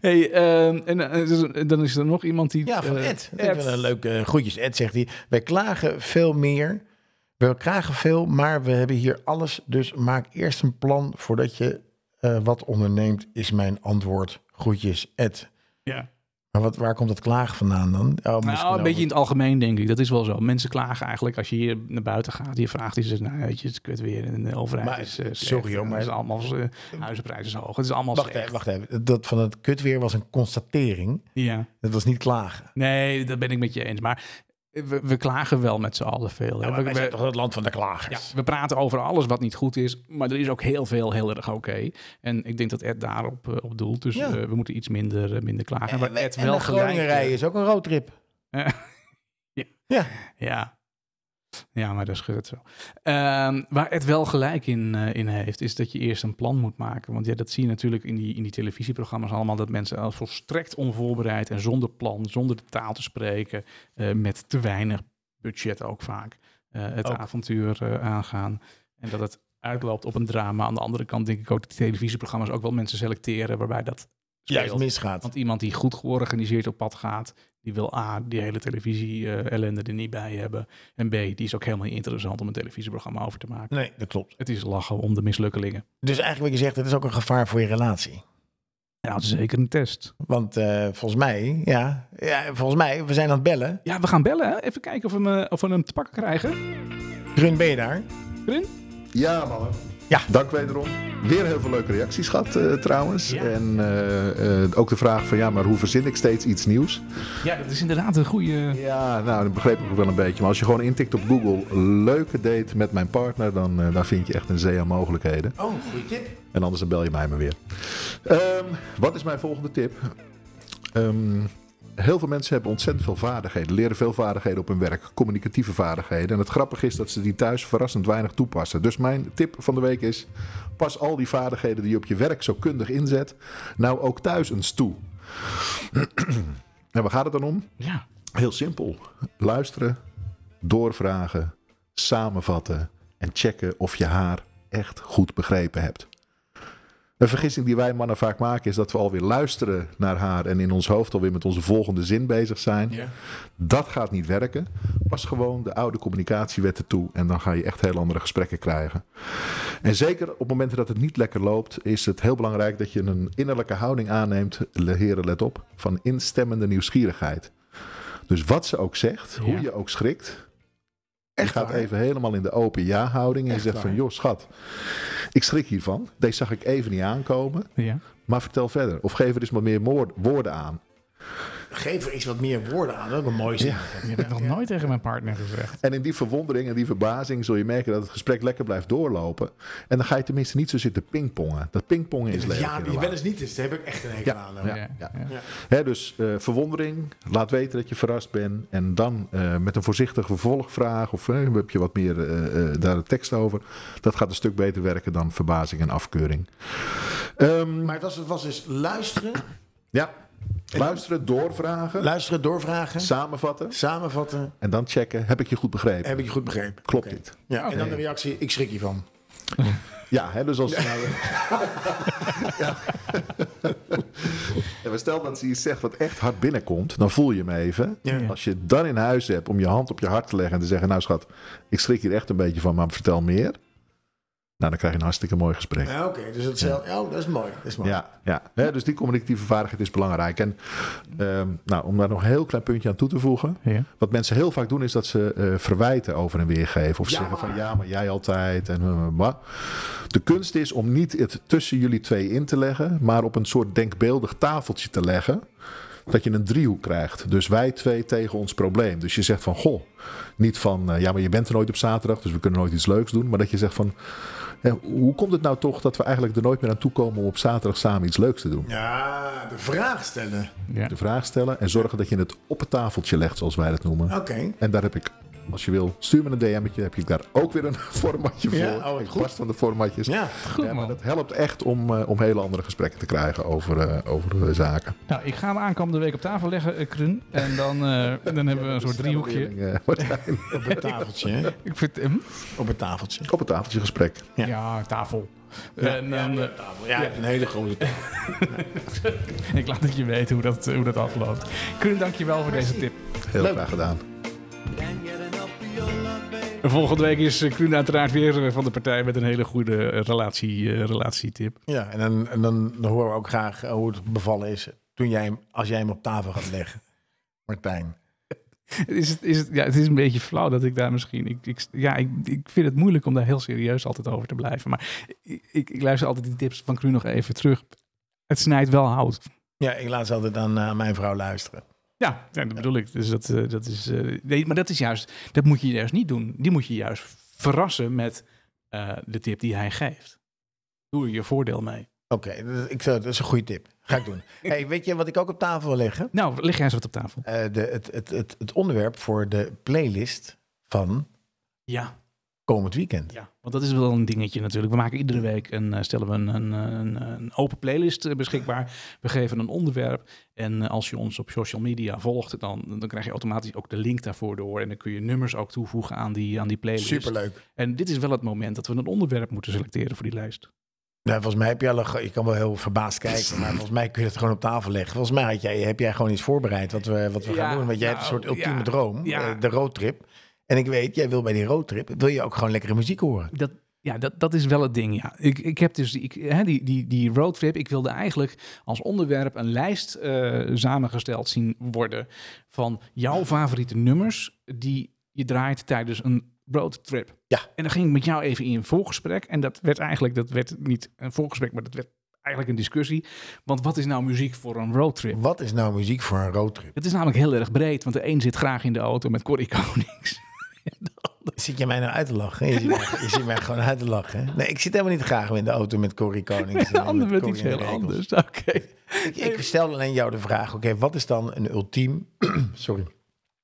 Hey, ehm, en eh, er is een- dan is er nog iemand die...
Ja, van
eh,
Ed. Even een leuke groetjes. Ed zegt hij, wij klagen veel meer. We klagen veel, maar we hebben hier alles. Dus maak eerst een plan voordat je eh, wat onderneemt, is mijn antwoord. Groetjes, Ed.
Ja.
Maar wat, waar komt dat klagen vandaan dan? Oh, misschien
Nou,
over-
een beetje in het algemeen denk ik. Dat is wel zo. Mensen klagen eigenlijk als je hier naar buiten gaat. Je vraagt die zegt, nou weet je, het is kut weer. En de overheid
Maar,
is eh, slecht.
sorry, hoor,
En
maar-
Het is allemaal, eh, huizenprijzen is hoog. Het is allemaal
Wacht
slecht.
even, wacht even. Dat van het kutweer was een constatering.
Ja.
Dat was niet klagen.
Nee, dat ben ik met je eens. Maar we, we klagen wel met z'n allen veel. hè.
maar
we,
wij
we-
zijn toch het land van de
ja,
klagers?
we praten over alles wat niet goed is. Maar er is ook heel veel heel erg oké. En ik denk dat Ed daarop eh, op doelt. Dus
Ja.
eh, we moeten iets minder, eh, minder klagen.
En,
maar
wij-
Ed
en
wel
naar Groningen
gelijk, eh,
rijden is ook een roadtrip.
Eh, ja.
Ja.
Ja. Ja, maar dat is het zo. Ehm, waar het wel gelijk in, eh, in heeft, is dat je eerst een plan moet maken. Want ja, dat zie je natuurlijk in die, in die televisieprogramma's allemaal. Dat mensen al volstrekt onvoorbereid en zonder plan, zonder de taal te spreken, eh, met te weinig budget ook vaak, eh, het
Ook.
avontuur eh, aangaan. En dat het uitloopt op een drama. Aan de andere kant denk ik ook dat die televisieprogramma's ook wel mensen selecteren waarbij dat
Ja,
speelt.
het misgaat.
Want iemand die goed georganiseerd op pad gaat, die wil A, die hele televisie-ellende er niet bij hebben. En B, die is ook helemaal niet interessant om een televisieprogramma over te maken.
Nee, dat klopt.
Het is lachen om de mislukkelingen.
Dus eigenlijk wat je zegt, het is ook een gevaar voor je relatie.
Ja, dat is zeker een test.
Want eh, volgens mij, ja, ja, volgens mij, we zijn aan het bellen.
Ja, we gaan bellen. Hè? Even kijken of we, hem, eh, of we hem te pakken krijgen.
Run, ben je daar?
Rin?
Ja, mannen.
Ja.
Dank wederom. Weer heel veel leuke reacties gehad eh, trouwens. En eh, eh, ook de vraag van ja, maar hoe verzin ik steeds iets nieuws?
Ja, dat is inderdaad een goede...
Ja, nou dat begreep ik ook wel een beetje. Maar als je gewoon intikt op Google leuke date met mijn partner, dan eh, daar vind je echt een zee aan mogelijkheden.
Oh, goede tip.
En anders dan bel je mij maar weer. Ehm, wat is mijn volgende tip? Ehm, heel veel mensen hebben ontzettend veel vaardigheden. Leren veel vaardigheden op hun werk. Communicatieve vaardigheden. En het grappige is dat ze die thuis verrassend weinig toepassen. Dus mijn tip van de week is... Pas al die vaardigheden die je op je werk zo kundig inzet... nou ook thuis eens toe. en waar gaat het dan om?
Ja.
Heel simpel. Luisteren, doorvragen, samenvatten en checken of je haar echt goed begrepen hebt. Een vergissing die wij mannen vaak maken is dat we alweer luisteren naar haar en in ons hoofd alweer met onze volgende zin bezig zijn. Dat gaat niet werken. Pas gewoon de oude communicatiewetten toe en dan ga je echt heel andere gesprekken krijgen. En zeker op momenten dat het niet lekker loopt, is het heel belangrijk dat je een innerlijke houding aanneemt, le- heren let op, van instemmende nieuwsgierigheid. Dus wat ze ook zegt, hoe
Ja.
je ook schrikt, je
Echt
gaat
waar?
even helemaal in de open ja-houding en je
Echt
zegt
waar?
van, joh schat, ik schrik hiervan. Deze zag ik even niet aankomen,
ja.
maar vertel verder. Of geef er eens wat meer moor- woorden aan.
Geef er eens wat meer woorden aan. Dat is een mooie zin.
Ik heb het nog nooit tegen mijn partner gezegd.
En in die verwondering en die verbazing zul je merken dat het gesprek lekker blijft doorlopen. En dan ga je tenminste niet zo zitten pingpongen. Dat pingpongen is
Ja,
lelijk. in
die
een
wel
relatie.
eens niet is. Daar heb ik echt een hekel
Ja,
aan.
ja.
ja.
Hè, dus eh, verwondering, laat weten dat je verrast bent. En dan eh, met een voorzichtige vervolgvraag of eh, heb je wat meer eh, eh, daar een tekst over. Dat gaat een stuk beter werken dan verbazing en afkeuring. Ehm,
Maar het was, het was dus luisteren,
ja, luisteren, doorvragen,
luisteren, doorvragen,
samenvatten.
samenvatten.
En dan checken, heb ik je goed begrepen?
Heb ik je goed begrepen?
Klopt
Oké.
dit?
Ja, en dan de reactie, ik schrik hiervan.
Ja, hè, dus als. Nou, ja. Ja, maar stel dat ze iets zegt wat echt hard binnenkomt, dan voel je hem even.
Ja.
Als je het dan in huis hebt om je hand op je hart te leggen en te zeggen: Nou, schat, ik schrik hier echt een beetje van, maar vertel meer. Nou, dan krijg je een hartstikke mooi gesprek.
Ja, Oké, dus dat is, wel- oh, dat is mooi. Dat is mooi.
Ja, ja. Hè, dus die communicatieve vaardigheid is belangrijk. En ehm, nou, om daar nog een heel klein puntje aan toe te voegen.
Ja.
Wat mensen heel vaak doen is dat ze eh, verwijten over en weer geven. Of
Ja,
zeggen van
maar.
ja, maar jij altijd. En, eh, maar. De kunst is om niet het tussen jullie twee in te leggen. Maar op een soort denkbeeldig tafeltje te leggen. Dat je een driehoek krijgt. Dus wij twee tegen ons probleem. Dus je zegt van goh. Niet van eh, ja, maar je bent er nooit op zaterdag. Dus we kunnen nooit iets leuks doen. Maar dat je zegt van hè, hoe komt het nou toch dat we eigenlijk er nooit meer aan toe komen om op zaterdag samen iets leuks te doen?
Ja, de vraag stellen.
Ja.
De vraag stellen en zorgen dat je het op het tafeltje legt, zoals wij dat noemen.
Oké.
En daar heb ik, als je wil, stuur me een DM'tje. Heb ik daar ook weer een formatje voor.
Ja, oh, wat
ik
goed.
pas van de formatjes.
Ja.
Goed
Ja, maar
man.
dat helpt echt om, eh, om hele andere gesprekken te krijgen over, eh, over eh, zaken.
Nou, ik ga hem aankomende week op tafel leggen, eh, Krun. En dan, eh, dan hebben we een soort driehoekje.
Eh, Martijn,
Op het tafeltje, hè?
Ik vind, hm?
Op het tafeltje.
op het tafeltje gesprek.
ja. tafel. en dan, eh,
tafel. Ja, je hebt een hele grote tafel.
ik laat het je weten hoe dat, eh, hoe dat afloopt. Krun, dankjewel voor deze tip.
Heel graag gedaan.
Volgende week is eh, Krun uiteraard weer eh, van de partij met een hele goede eh, relatie, eh, relatietip.
Ja, en dan, en dan dan horen we ook graag eh, hoe het bevallen is toen jij, hem- als jij hem op tafel gaat leggen. Martijn.
Is het, is het, ja, het is een beetje flauw dat ik daar misschien. Ik, ik, ja, ik, ik vind het moeilijk om daar heel serieus altijd over te blijven. Maar ik, ik, ik luister altijd die tips van Kru nog even terug. Het snijdt wel hout.
Ja, ik laat ze altijd aan eh, mijn vrouw luisteren.
Ja, ja, dat bedoel ik. Dus dat, eh, dat is. eh, nee, maar dat is juist. Dat moet je juist niet doen. Die moet je juist verrassen met eh, de tip die hij geeft. Doe er je voordeel mee.
Oké, dat, ik, zou- dat is een goede tip. Ga ik doen. hey, weet je wat ik ook op tafel wil leggen?
Nou, leg jij eens wat op tafel.
Eh, de, het, het, het, het onderwerp voor de playlist van
Ja,
komend weekend.
ja. Want dat is wel een dingetje natuurlijk. We maken iedere week een, eh, stellen we een, een, een, een open playlist eh, beschikbaar. We geven een onderwerp. En eh, als je ons op social media volgt, dan, dan krijg je automatisch ook de link daarvoor door. En dan kun je nummers ook toevoegen aan die, aan die playlist.
Superleuk.
En dit is wel het moment dat we een onderwerp moeten selecteren voor die lijst.
Nou, volgens mij heb jij al, een- je kan wel heel verbaasd kijken, maar volgens mij kun je het gewoon op tafel leggen. Volgens mij had jij, heb jij gewoon iets voorbereid wat we, wat we
Ja,
gaan doen. Want jij hebt een
nou,
soort ultieme
ja,
droom,
ja.
eh, de roadtrip. En ik weet, jij wil bij die roadtrip, wil je ook gewoon lekkere muziek horen.
Dat, ja, dat, dat is wel het ding, ja. Ik, ik heb dus die, ik, hè, die, die, die roadtrip, ik wilde eigenlijk als onderwerp een lijst eh, samengesteld zien worden van jouw favoriete nummers die je draait tijdens een roadtrip.
Ja.
En dan ging ik met jou even in een voorgesprek. En dat werd eigenlijk, dat werd niet een voorgesprek, maar dat werd eigenlijk een discussie. Want wat is nou muziek voor een roadtrip?
Wat is nou muziek voor een roadtrip?
Het is namelijk heel erg breed, want de een zit graag in de auto met Corrie Konings.
Zit je mij nou uit te lachen? Je ziet mij, je ziet mij gewoon uit te lachen. hè? Nee, ik zit helemaal niet graag in de auto met Corrie Konings.
De
en
ander met
Corrie
iets
en de
heel
Rekels.
anders. Oké.
Ik, ik stel alleen jou de vraag, oké, wat is dan een ultiem, sorry,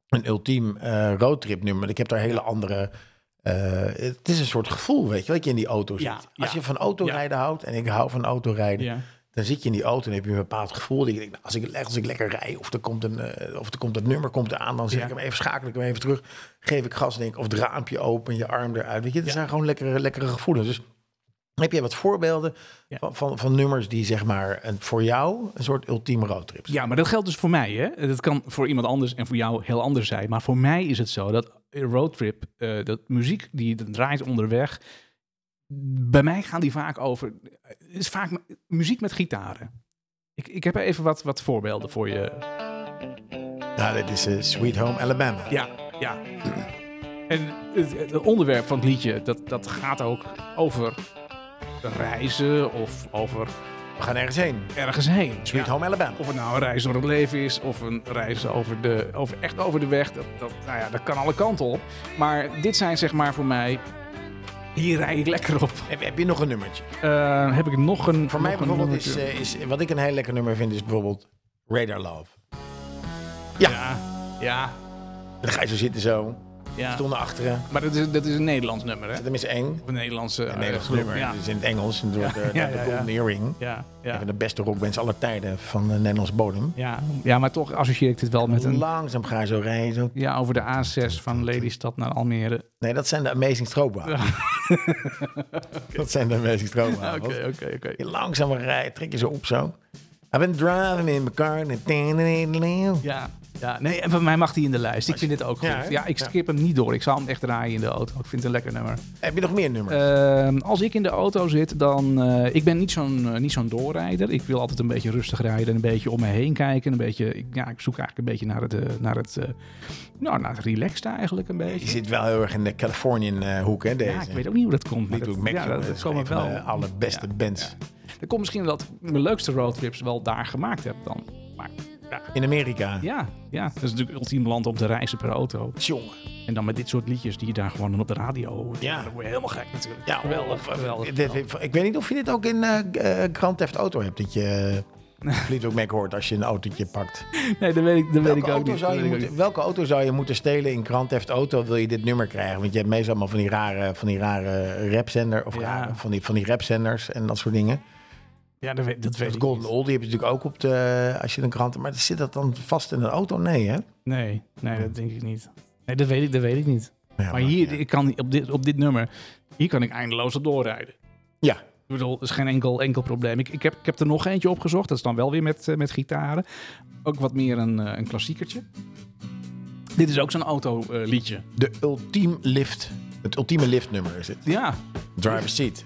een ultiem eh roadtrip nummer? Ik heb daar hele andere, eh, het is een soort gevoel, weet je, wat je in die auto zit.
Ja,
Als
ja.
je van autorijden houdt, en ik hou van autorijden,
Ja.
dan zit je in die auto en heb je een bepaald gevoel. Dat je denkt, nou, als, ik, als ik lekker rij of er komt, een, eh, of er komt dat nummer komt aan, dan zet
Ja.
ik hem even, schakel ik hem even terug, geef ik gas en denk, of het raampje open, je arm eruit. Weet je, dat
Ja.
zijn gewoon lekkere, lekkere gevoelens. Dus heb jij wat voorbeelden
Ja.
van, van, van nummers die zeg maar een, voor jou een soort ultieme roadtrip zijn?
Ja, maar dat geldt dus voor mij. Hè? Dat kan voor iemand anders en voor jou heel anders zijn. Maar voor mij is het zo dat roadtrip, eh, dat muziek die je draait onderweg. Bij mij gaan die vaak over. Het is vaak mu- muziek met gitaren. Ik, ik heb even wat, wat voorbeelden voor je.
Nou, dit is eh, Sweet Home Alabama.
Ja, ja. En het, het onderwerp van het liedje, dat, dat gaat ook over reizen of over
We gaan ergens heen.
ergens heen.
Sweet
Ja.
Home Alabama.
Of het nou een reis door het leven is, of een reis over de, over, echt over de weg. Dat, dat, nou ja, dat kan alle kanten op. Maar dit zijn zeg maar voor mij... Hier rijd ik lekker op.
Heb, heb je nog een nummertje?
Eh, heb ik nog een...
Voor mij
nog een
bijvoorbeeld is,
nummertje?
eh, is, wat ik een heel lekker nummer vind, is bijvoorbeeld Radar Love.
Ja, ja,
Dan ga je zo zitten zo,
ja.
stoel naar achteren.
Maar dat is, dat is een Nederlands nummer, hè?
Dat is één.
Of een Nederlandse... eh,
Een Nederlands
groep,
nummer.
Ja,
Dus in het Engels. En door de,
ja,
de
ja,
Golden Earring.
ja,
Een
ja.
van de beste rockbands aller tijden van de Nederlandse bodem.
Ja, ja, maar toch associeer ik dit wel met een...
Langzaam ga je zo rijden. Zo.
Ja, over de A6 van Lelystad naar Almere.
Nee, dat zijn de Amazing Stroopwafels. Dat zijn de Amazing Stroopwafels.
oké, oké.
Je langzaam rijden, trek je ze op zo. I've been driving in my car.
Ja, ja, nee, en voor mij mag die in de lijst. Ik vind dit ook goed.
Ja,
Ja,
hè?
ik
Ja.
skip hem niet door. Ik zal hem echt draaien in de auto. Ik vind het een lekker nummer.
Heb je nog meer nummers?
Ehm, als ik in de auto zit, dan... eh, ik ben niet zo'n, eh, niet zo'n doorrijder. Ik wil altijd een beetje rustig rijden. Een beetje om me heen kijken. Een beetje... Ik, ja, ik zoek eigenlijk een beetje naar het... eh, naar het eh, nou, naar het relaxed eigenlijk een
je
beetje.
zit wel heel erg in de Californian eh, hoek, hè, deze.
Ja, ik weet ook niet hoe dat komt. maar
Fleetwood Mac,
dat- ja,
jongen, dat
dat, dat
is
zal me
een van
wel...
de allerbeste
Ja,
bands.
ja. Dat komt misschien dat ik mijn leukste roadtrips wel daar gemaakt heb dan. Maar ja,
In Amerika.
ja, ja. dat is natuurlijk ultiem land om te reizen per auto.
Jongen.
En dan met dit soort liedjes die je daar gewoon dan op de radio hoort.
Ja.
Dan word je helemaal gek natuurlijk.
Ja,
geweldig,
of- eh,
geweldig.
dit-
geweldig.
Ik weet niet of je dit ook in eh, eh, Grand Theft Auto hebt, dat je eh, Fleetwood Mac hoort als je een autootje pakt.
Nee, dat weet ik, dat weet ik
Welke
ook
auto,
niet.
zou
Dat
je
weet ik ook
moeten, welke auto zou je moeten stelen in Grand Theft Auto? Wil je dit nummer krijgen? Want je hebt meestal allemaal van die rare, van die rare rapzender of
Ja.
rare- van die, van die rapzenders en dat soort dingen.
niet. Ja, dat weet, dat weet
Dat
ik
Golden
niet.
Oldie heb je natuurlijk ook op de als je een krant. Maar zit dat dan vast in een auto? Nee, hè?
Nee, nee, dat denk ik niet. Nee, dat weet ik, dat weet ik niet.
Ja,
maar hier,
ja.
ik kan op dit, op dit nummer, hier kan ik eindeloos op doorrijden.
ja.
Ik bedoel, dat is geen enkel, enkel probleem. Ik, ik, heb, ik heb er nog eentje opgezocht. Dat is dan wel weer met, eh, met gitaren. Ook wat meer een, eh, een klassiekertje. Dit is ook zo'n autoliedje. liedje.
de ultiem lift. Het ultieme liftnummer is het.
ja.
Driver's seat.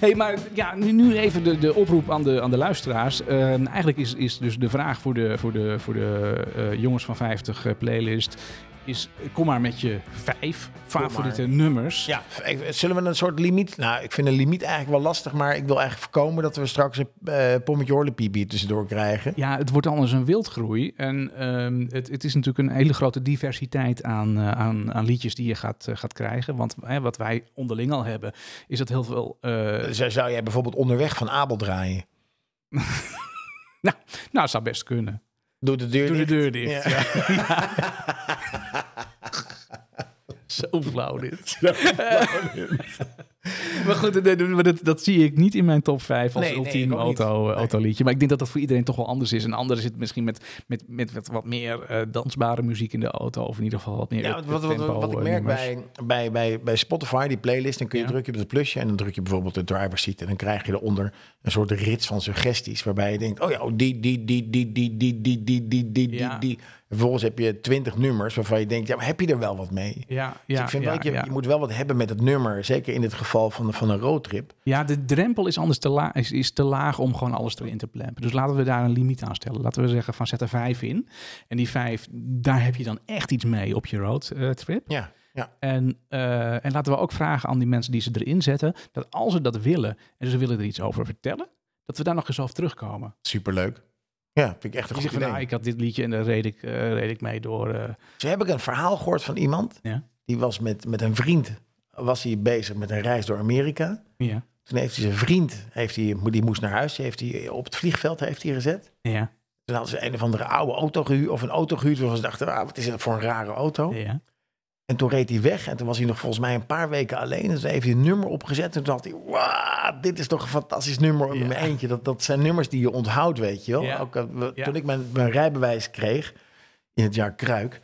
Hey, maar ja, nu, nu even de, de oproep aan de, aan de luisteraars. Eh, eigenlijk is, is dus de vraag voor de, voor de, voor de eh, jongens van 50 eh, playlist... Is, eh, kom maar met je vijf favoriete nummers.
Ja, ik- zullen we een soort limiet? Nou, ik vind een limiet eigenlijk wel lastig, maar ik wil eigenlijk voorkomen dat we straks een eh pommetje horlepie tussendoor krijgen.
Ja, het wordt anders een wildgroei. En ehm, het, het is natuurlijk een hele grote diversiteit aan, eh, aan, aan liedjes die je gaat, eh, gaat krijgen. Want hè, wat wij onderling al hebben, is dat heel veel. eh,
Zou zou jij bijvoorbeeld onderweg van Abel draaien?
nou, nou, het zou best kunnen.
Doe de deur
Doe de
dicht.
deur dicht.
Ja.
Zo flauw dit. maar goed, nee, maar dat, dat zie ik niet in mijn top 5 als
Nee, nee,
ultiem
ik ook niet.
auto, eh,
Nee.
autoliedje. Maar ik denk dat dat voor iedereen toch wel anders is. En anderen zitten misschien met, met, met, wat- wat meer eh, dansbare muziek in de auto. Of in ieder geval wat meer
Ja,
up-
want wat, wat,
up-tempo,
wat, ik
eh,
merk
nummers.
bij, bij, bij, bij Spotify, die playlist, dan kun je
Ja.
drukken op het plusje en dan druk je bijvoorbeeld de driver seat en dan krijg je eronder een soort rits van suggesties waarbij je denkt, oh ja, oh, die, die, die, die, die, die, die, die, die, die, die,
Ja.
die. En Vervolgens heb je twintig nummers waarvan je denkt, ja, maar heb je er wel wat mee?
Ja, ja,
Dus ik vind
ja,
wel, je,
ja.
je moet wel wat hebben met het nummer, zeker in het geval van, van een roadtrip.
Ja, de drempel is anders te laag, is, is te laag om gewoon alles erin te plempen. Dus laten we daar een limiet aan stellen. Laten we zeggen van zet er vijf in. En die vijf, daar heb je dan echt iets mee op je roadtrip.
Ja. Ja.
En, eh, en laten we ook vragen aan die mensen die ze erin zetten, dat als ze dat willen en ze willen er iets over vertellen, dat we daar nog eens over terugkomen.
Superleuk. Ja, vind ik echt een
Die
goed
zegt van,
idee.
nou, ik had dit liedje en daar reed ik, eh, reed ik mee door. eh,
Zo heb ik een verhaal gehoord van iemand.
Ja.
Die was met, met een vriend was hij bezig met een reis door Amerika.
ja,
Toen heeft hij zijn vriend, heeft hij, die moest naar huis, die heeft hij op het vliegveld heeft hij gezet.
ja,
Toen hadden ze een of andere oude auto gehuurd, of een auto gehuurd. Waarvan ze dachten, ah, wat is dat voor een rare auto?
ja.
En toen reed hij weg en toen was hij nog volgens mij een paar weken alleen. Dus hij heeft hij een nummer opgezet en toen had hij, wauw, dit is toch een fantastisch nummer om in
Ja.
mijn eentje. Dat, dat zijn nummers die je onthoudt, weet je wel.
Ja.
Ook, eh, we-
Ja.
Toen ik mijn, mijn rijbewijs kreeg, in het jaar Kruik,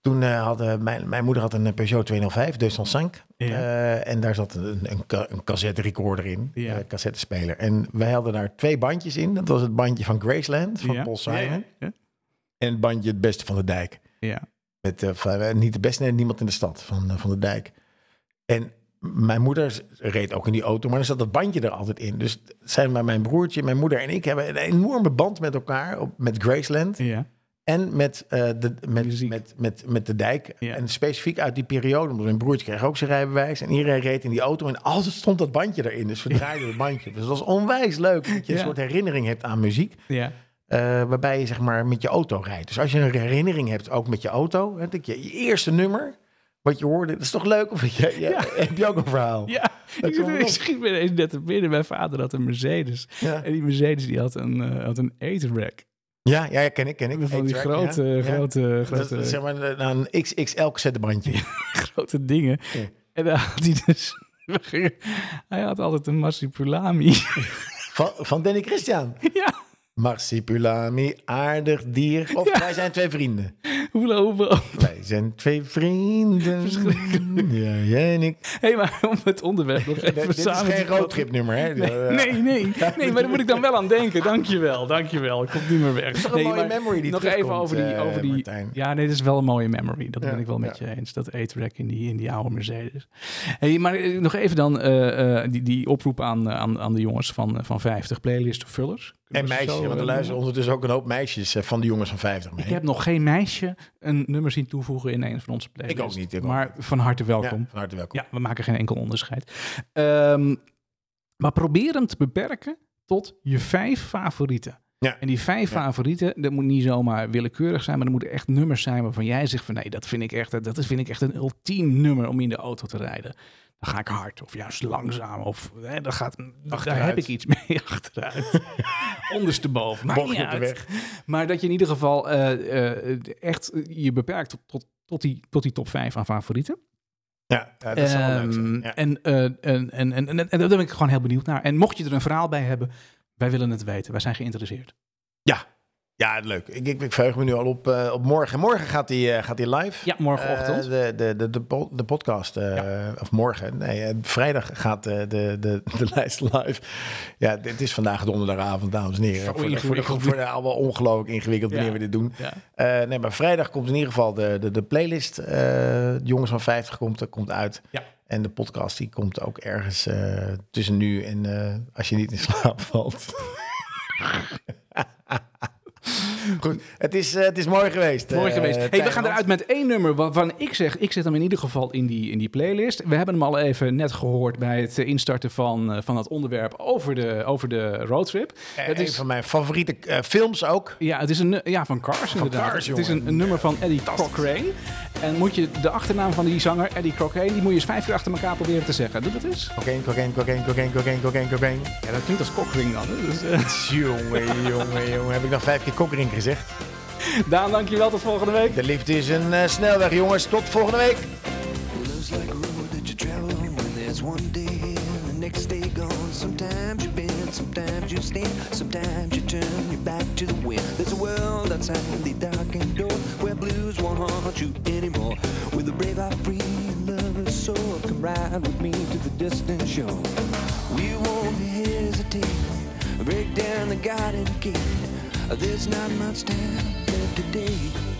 toen eh, had eh, mijn, mijn moeder had een eh, Peugeot 205, 205.
Ja.
Eh, en daar zat een, een, ca- een cassette recorder in,
Ja.
eh, cassettespeler. En wij hadden daar twee bandjes in. Dat was het bandje van Graceland, van
ja.
Paul Simon.
Ja, ja,
En het bandje Het Beste van de Dijk.
ja.
Met, eh, van, eh, niet de beste, nee, niemand in de stad van, eh, van de dijk. En mijn moeder z- reed ook in die auto, maar dan zat dat bandje er altijd in. Dus zijn maar mijn broertje, mijn moeder en ik hebben een enorme band met elkaar. Op, met Graceland
ja.
en met, eh, de, met,
Muziek.
met, met, met de dijk.
Ja.
En specifiek uit die periode, omdat mijn broertje kreeg ook zijn rijbewijs. En iedereen reed in die auto en altijd stond dat bandje erin. Dus we draaiden het bandje. Dus dat was onwijs leuk, dat je
Ja.
een soort herinnering hebt aan muziek.
ja.
Eh, waarbij je zeg maar met je auto rijdt. Dus als je een herinnering hebt, ook met je auto, hè, dat je, je eerste nummer, wat je hoorde, dat is toch leuk? Of je, je-
Ja.
heb je ook een verhaal?
Ja, ik,
kan
zit, ik
wel.
schiet me ineens net te binnen. Mijn vader had een Mercedes.
Ja.
En die Mercedes die had een, eh, had een etenrack.
ja, ja, ken ik, ken ik.
Van die
Eight track,
grote,
ja. Ja.
grote,
Dat is,
grote,
zeg maar eh, nou, een XXL cassettebandje.
grote dingen.
Ja.
En daar had hij dus... we gingen- Hij had altijd een marsipulami.
Van, van Danny Christian.
ja,
Marsipulami, aardig dier. Of
Ja.
wij zijn twee vrienden.
hoela hoela.
Wij zijn twee vrienden. Ja, jij en ik.
Hé, hey, maar om het onderwerp nog even
Dit is
samen te
geen
vatten.
roadtripnummer, hè? Eh,
Nee, nee, nee, maar daar moet ik dan wel aan denken. Dankjewel, dankjewel. Ik kom niet meer weg.
toch een
nee,
mooie
maar
memory die
Nog
terugkomt,
even over die...
eh,
Over die
Martijn.
ja, nee, dit is wel een mooie memory. Dat
Ja,
ben ik wel met
ja.
je eens. Dat A-track in die, in die oude Mercedes. Hey, maar eh, nog even dan eh, eh, die, die oproep aan, eh, aan, aan de jongens van, eh, van 50 playlist vullers.
En meisjes, want er luisteren ondertussen ook een hoop meisjes eh, van de jongens van 50 mee.
eh, Ik heb nog geen meisje een nummer zien toevoegen in een van onze playlists.
ook niet, ik ook
maar van harte
ja,
welkom.
van harte welkom.
Ja, we maken geen enkel onderscheid. Ehm, maar probeer hem te beperken tot je vijf favorieten.
Ja.
En die vijf
Ja.
favorieten, dat moet niet zomaar willekeurig zijn, maar er moeten echt nummers zijn waarvan jij zegt van nee, dat vind ik echt, dat vind ik echt een ultiem nummer om in de auto te rijden. Dan ga ik hard of juist langzaam of hè, dan gaat, daar
Achteruit.
heb ik iets mee achteruit. Ondersteboven, maakt niet
Bocht op de
uit.
weg.
Maar dat je in ieder geval eh, eh, echt je beperkt tot, tot, tot, die, tot die top vijf aan favorieten.
Ja, ja, dat zal wel leuk zijn.
Ehm,
Ja.
en, eh, en, en, en, en, en daar ben ik gewoon heel benieuwd naar. En mocht je er een verhaal bij hebben, wij willen het weten. Wij zijn geïnteresseerd.
Ja. ja, leuk. Ik, ik, ik verheug me nu al op, eh, op morgen. Morgen gaat die, eh, gaat die live.
Ja, morgenochtend.
Eh, de, de, de, de, po- de podcast, eh, of morgen, nee, eh, vrijdag gaat eh, de, de, de lijst live. Ja, dit is vandaag donderdagavond, dames en heren. Voor
Zo
de, voor de,
ingewikkeld.
voor de- allemaal ongelooflijk ingewikkeld
Ja.
wanneer we dit doen.
ja.
Eh, nee, maar vrijdag komt in ieder geval de, de, de playlist. eh, de Jongens van 50 komt, eh, komt uit.
Ja.
En de podcast die komt ook ergens eh, tussen nu en eh, als je niet in slaap valt. Goed, het is, eh, het is mooi geweest.
Mooi
eh,
geweest. Hey, we
Tijman.
gaan eruit met één nummer waarvan ik zeg, ik zet hem in ieder geval in die, in die playlist. We hebben hem al even net gehoord bij het eh, instarten van, eh, van het onderwerp over de, over de roadtrip.
Eh,
het
Een
is,
van mijn favoriete eh, films ook.
ja, het is een, nu- ja, van Cars inderdaad.
Cars,
het is
jongen.
een, een nummer van Eddie Cochrane. En moet je de achternaam van die zanger, Eddie Cochrane, die moet je eens vijf keer achter elkaar proberen te zeggen. Doe dat eens.
Cocaine, cocaine, cocaine, cocaine, cocaine, cocaine, cocaine.
Ja, dat klinkt als kokring dan. hè? Dus, eh,
Jongen, jongen, jongen. Heb ik nog vijf keer kokering gezegd?
Daan, dankjewel. Tot volgende week.
De liefde is een eh, snelweg, jongens. Tot volgende week.
It looks like a road that you travel when there's one day here and the next day gone. Sometimes you bend, sometimes you stand, sometimes you turn your back to the wind. There's a world outside the darkened door where blues won't haunt you anymore. With a brave heart, free lover's soul, come ride with me to the distant shore. We won't hesitate, break down the garden gate. There's not much time left today.